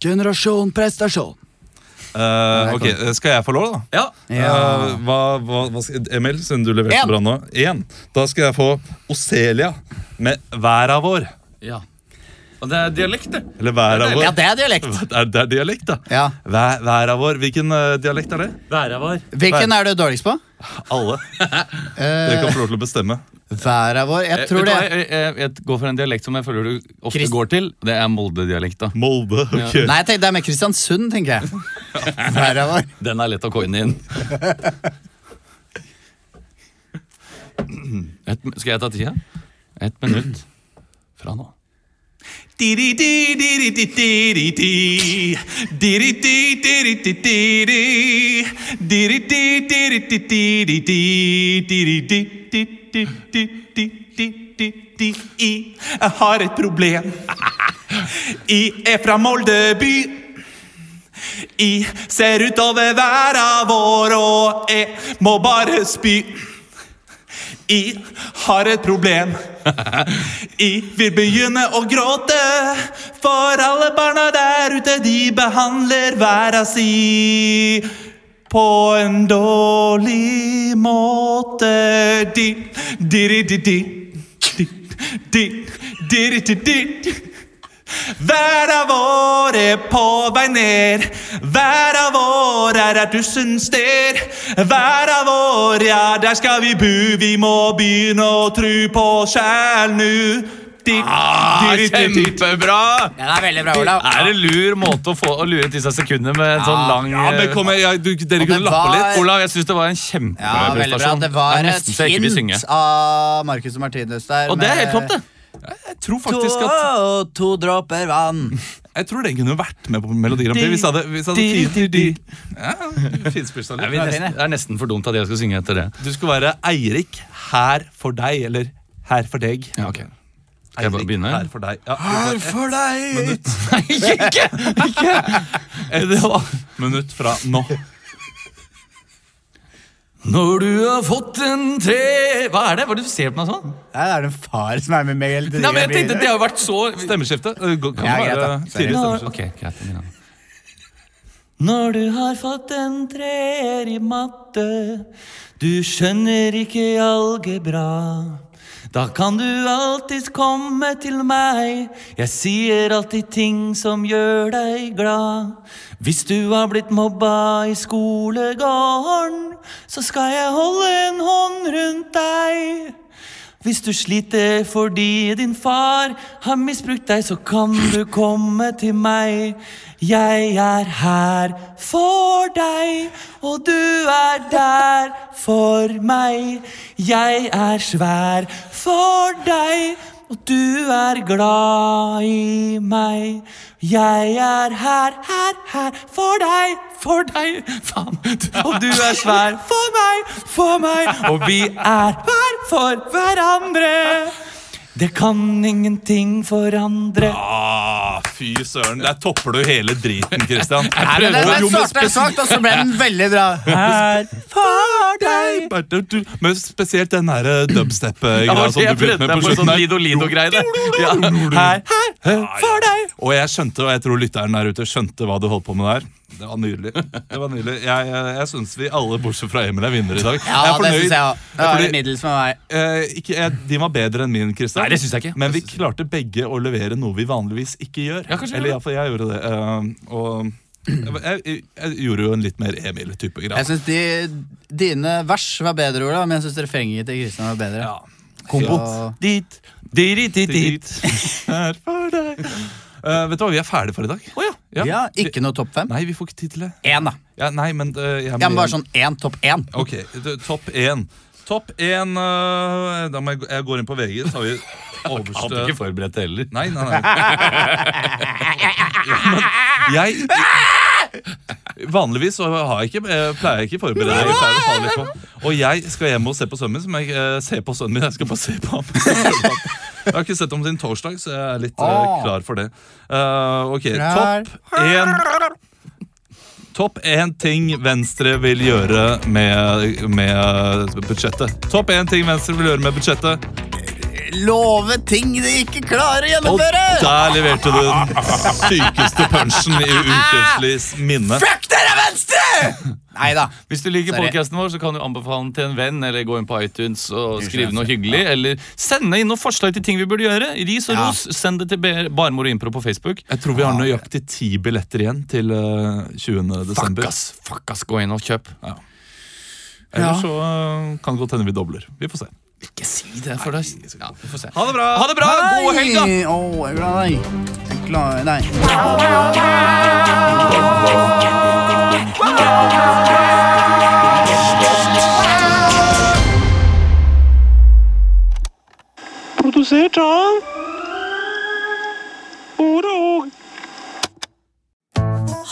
Generasjon prestasjon.
Eh, ok, Skal jeg få lov, da?
Ja.
Ja.
Eh, hva, hva, hva, skal- Emil, siden du leverte
En.
så bra nå. Én. Da skal jeg få Oselia med 'Væra vår'.
ja. Og det er dialekt, det.
Eller 'Væra
Ja,
vår'.
det er dialekt.
Det er, det er dialekt, da.
Ja.
Væ- 'Væra vår'. Hvilken eh, dialekt er det?
Væra vår.
Hvilken er du dårligst på?
Alle. Dere kan få lov til å bestemme.
Været vår.
Eh,
Jeg tror det.
jeg, jeg, jeg, jeg går for en dialekt som jeg føler du ofte
Krist-
går til. Det er Molde-dialekt. da
Molde. ok.
Nei, jeg tenkte det er mer Kristiansund, tenker jeg. Været vår.
Den er lett å coine inn. Et, skal jeg ta tida? Ett minutt fra nå.
Jeg har et problem. Jeg er fra Molde by. Jeg ser utover verden vår, og jeg må bare spy. Jeg har et problem. Jeg vil begynne å gråte. For alle barna der ute, de behandler verden si på en dårlig måte. Di, di, di, di, di, di, di, di, di, di. Verden vår er på vei ned. Verden vår er et tusen sted. Verden vår, ja, der skal vi bo. Vi må begynne å tru på sjæl nu. Di-
Ah.
di- di- di- di-
Kjempebra!
Den er veldig bra, Olav.
Er det lur måte å, få, å lure til seg sekundene med en sånn lang
Ja, men kom, jeg, du, dere kunne
men
lappe
hva-
litt.
jeg-
Olav, jeg syns det var en
Ja, veldig
kjempebra
bra.
prestasjon.
Det var
er
et
nesten så jeg ikke vil synge.
hint av Marcus og Martinus der.
Og det er
med
helt topp, det. Jeg tror faktisk
To,
at
to dråper vann.
Jeg tror den kunne vært med på Melodi Grand Prix. Hvis jeg hadde, hvis jeg
Di-
hadde
di- di.
fin, finspissa
Nei,
litt.
vi nesten, Det er nesten for dumt at jeg skal synge etter det.
Du skulle være Eirik her for deg, eller her for deg.
Ja, ok Skal jeg bare begynne?
Her for deg. Ja,
Ah.
her for deg!
Nei, ikke! ikke. Det var...
Minutt fra nå.
Når du har fått en tre Hva er det? Hva er det du ser på meg sånn?
Her er det en far som er med meg hele tiden.
Nei, men jeg tenkte Det har jo vært så
Stemmeskifte. Det går- Kan
Ja, greit,
være
da.
tidlig
Når,
stemmeskifte.
Ok, greit det er min gang. Når du har fått en treer i matte Du skjønner ikke algebra Da kan du alltid komme til meg Jeg sier alltid ting som gjør deg glad Hvis du har blitt mobba i skolegården Så skal jeg holde en hånd rundt deg hvis du sliter fordi din far har misbrukt deg, så kan du komme til meg. Jeg er her for deg, og du er der for meg. Jeg er svær for deg, og du er glad i meg. Jeg er her, her, her for deg, for deg, faen. Og du er svær for meg, for meg. Og vi er hver for hverandre. Det kan ingenting forandre.
Ah, fy søren. Der topper du hele driten, Christian.
Men den den starta svakt, og så ble den veldig bra.
Er for deg.
Men spesielt den der dubstep-greia som du
jeg
begynte med
prøvde
på
meg på en
slutten.
sånn
der.
Lido-Lido-greie. Ja. Her, her, for deg.
Og jeg skjønte, og jeg tror lytteren der ute skjønte hva du holdt på med der. Det var nydelig. Det var nydelig. Jeg, eh, jeg- jeg syns vi alle, bortsett fra Emil, er vinnere i dag.
Ja,
jeg er
det syns jeg òg. Det var
Fordi-
litt middels med meg.
Eh, ikke, jeg, de var bedre enn min, Kristian.
Nei, det synes jeg ikke.
Men vi
Det synes
klarte begge å levere noe vi vanligvis ikke gjør.
Ja, kanskje vi
Eller
gjør
iallfall jeg gjorde det. eh, og jeg, jeg, jeg gjorde jo en litt mer Emil-type
Jeg
greie.
syns de, dine vers var bedre, Ola, men jeg syns refrenget til Kristian var bedre. Kombo.
Dit, dit, dit, dit.
Her for deg. Eh, vet du hva, vi er ferdige for i dag.
Ja. ikke noe topp fem.
Nei, vi får ikke tid til det.
Én, da.
Ja, nei, men eh, jeg,
Ja, men bare sånn én, topp én.
Ok, du, topp én. Topp én øh, Da må jeg, gå- jeg går inn på VG, så har vi
Hadde
overste
ikke forberedt det heller.
Nei, nei, nei. Ja, men jeg Vanligvis så har jeg ikke, eh, pleier jeg ikke å forberede meg. Jeg pleier å ta litt på. Og jeg skal hjem og se på sønnen min, så må jeg eh, se på sønnen min. Jeg skal bare se på ham. Jeg har ikke sett ham siden torsdag, så jeg er litt eh, klar for det. Eh, ok,
Klar.
topp én. Topp én ting Venstre vil gjøre med, med budsjettet. Topp én ting Venstre vil gjøre med budsjettet.
Love ting de ikke klarer å
Og
gjennomføre!
der leverte du den sykeste punchen i ukenslys minne.
Fuck dere, Venstre! Nei da.
Hvis du liker
Sorry.
podcasten vår, så kan du anbefale den til en venn, eller gå inn på iTunes og skrive noe hyggelig, eller sende inn noen forslag til ting vi burde gjøre. Ris og ros, send det til Bar- Barmor og Impro på Facebook. Ah,
Jeg tror vi har nøyaktig ti billetter igjen til eh, 20.
Fuck
desember.
ass, fuck ass, gå inn og kjøp.
Eller så eh, kan det godt hende vi dobler. Vi får se.
Ikke si det, for det ja, vi får se.
Ha det bra!
Ha det bra, god helg da!
Å, jeg er glad i deg. Jeg er glad i deg.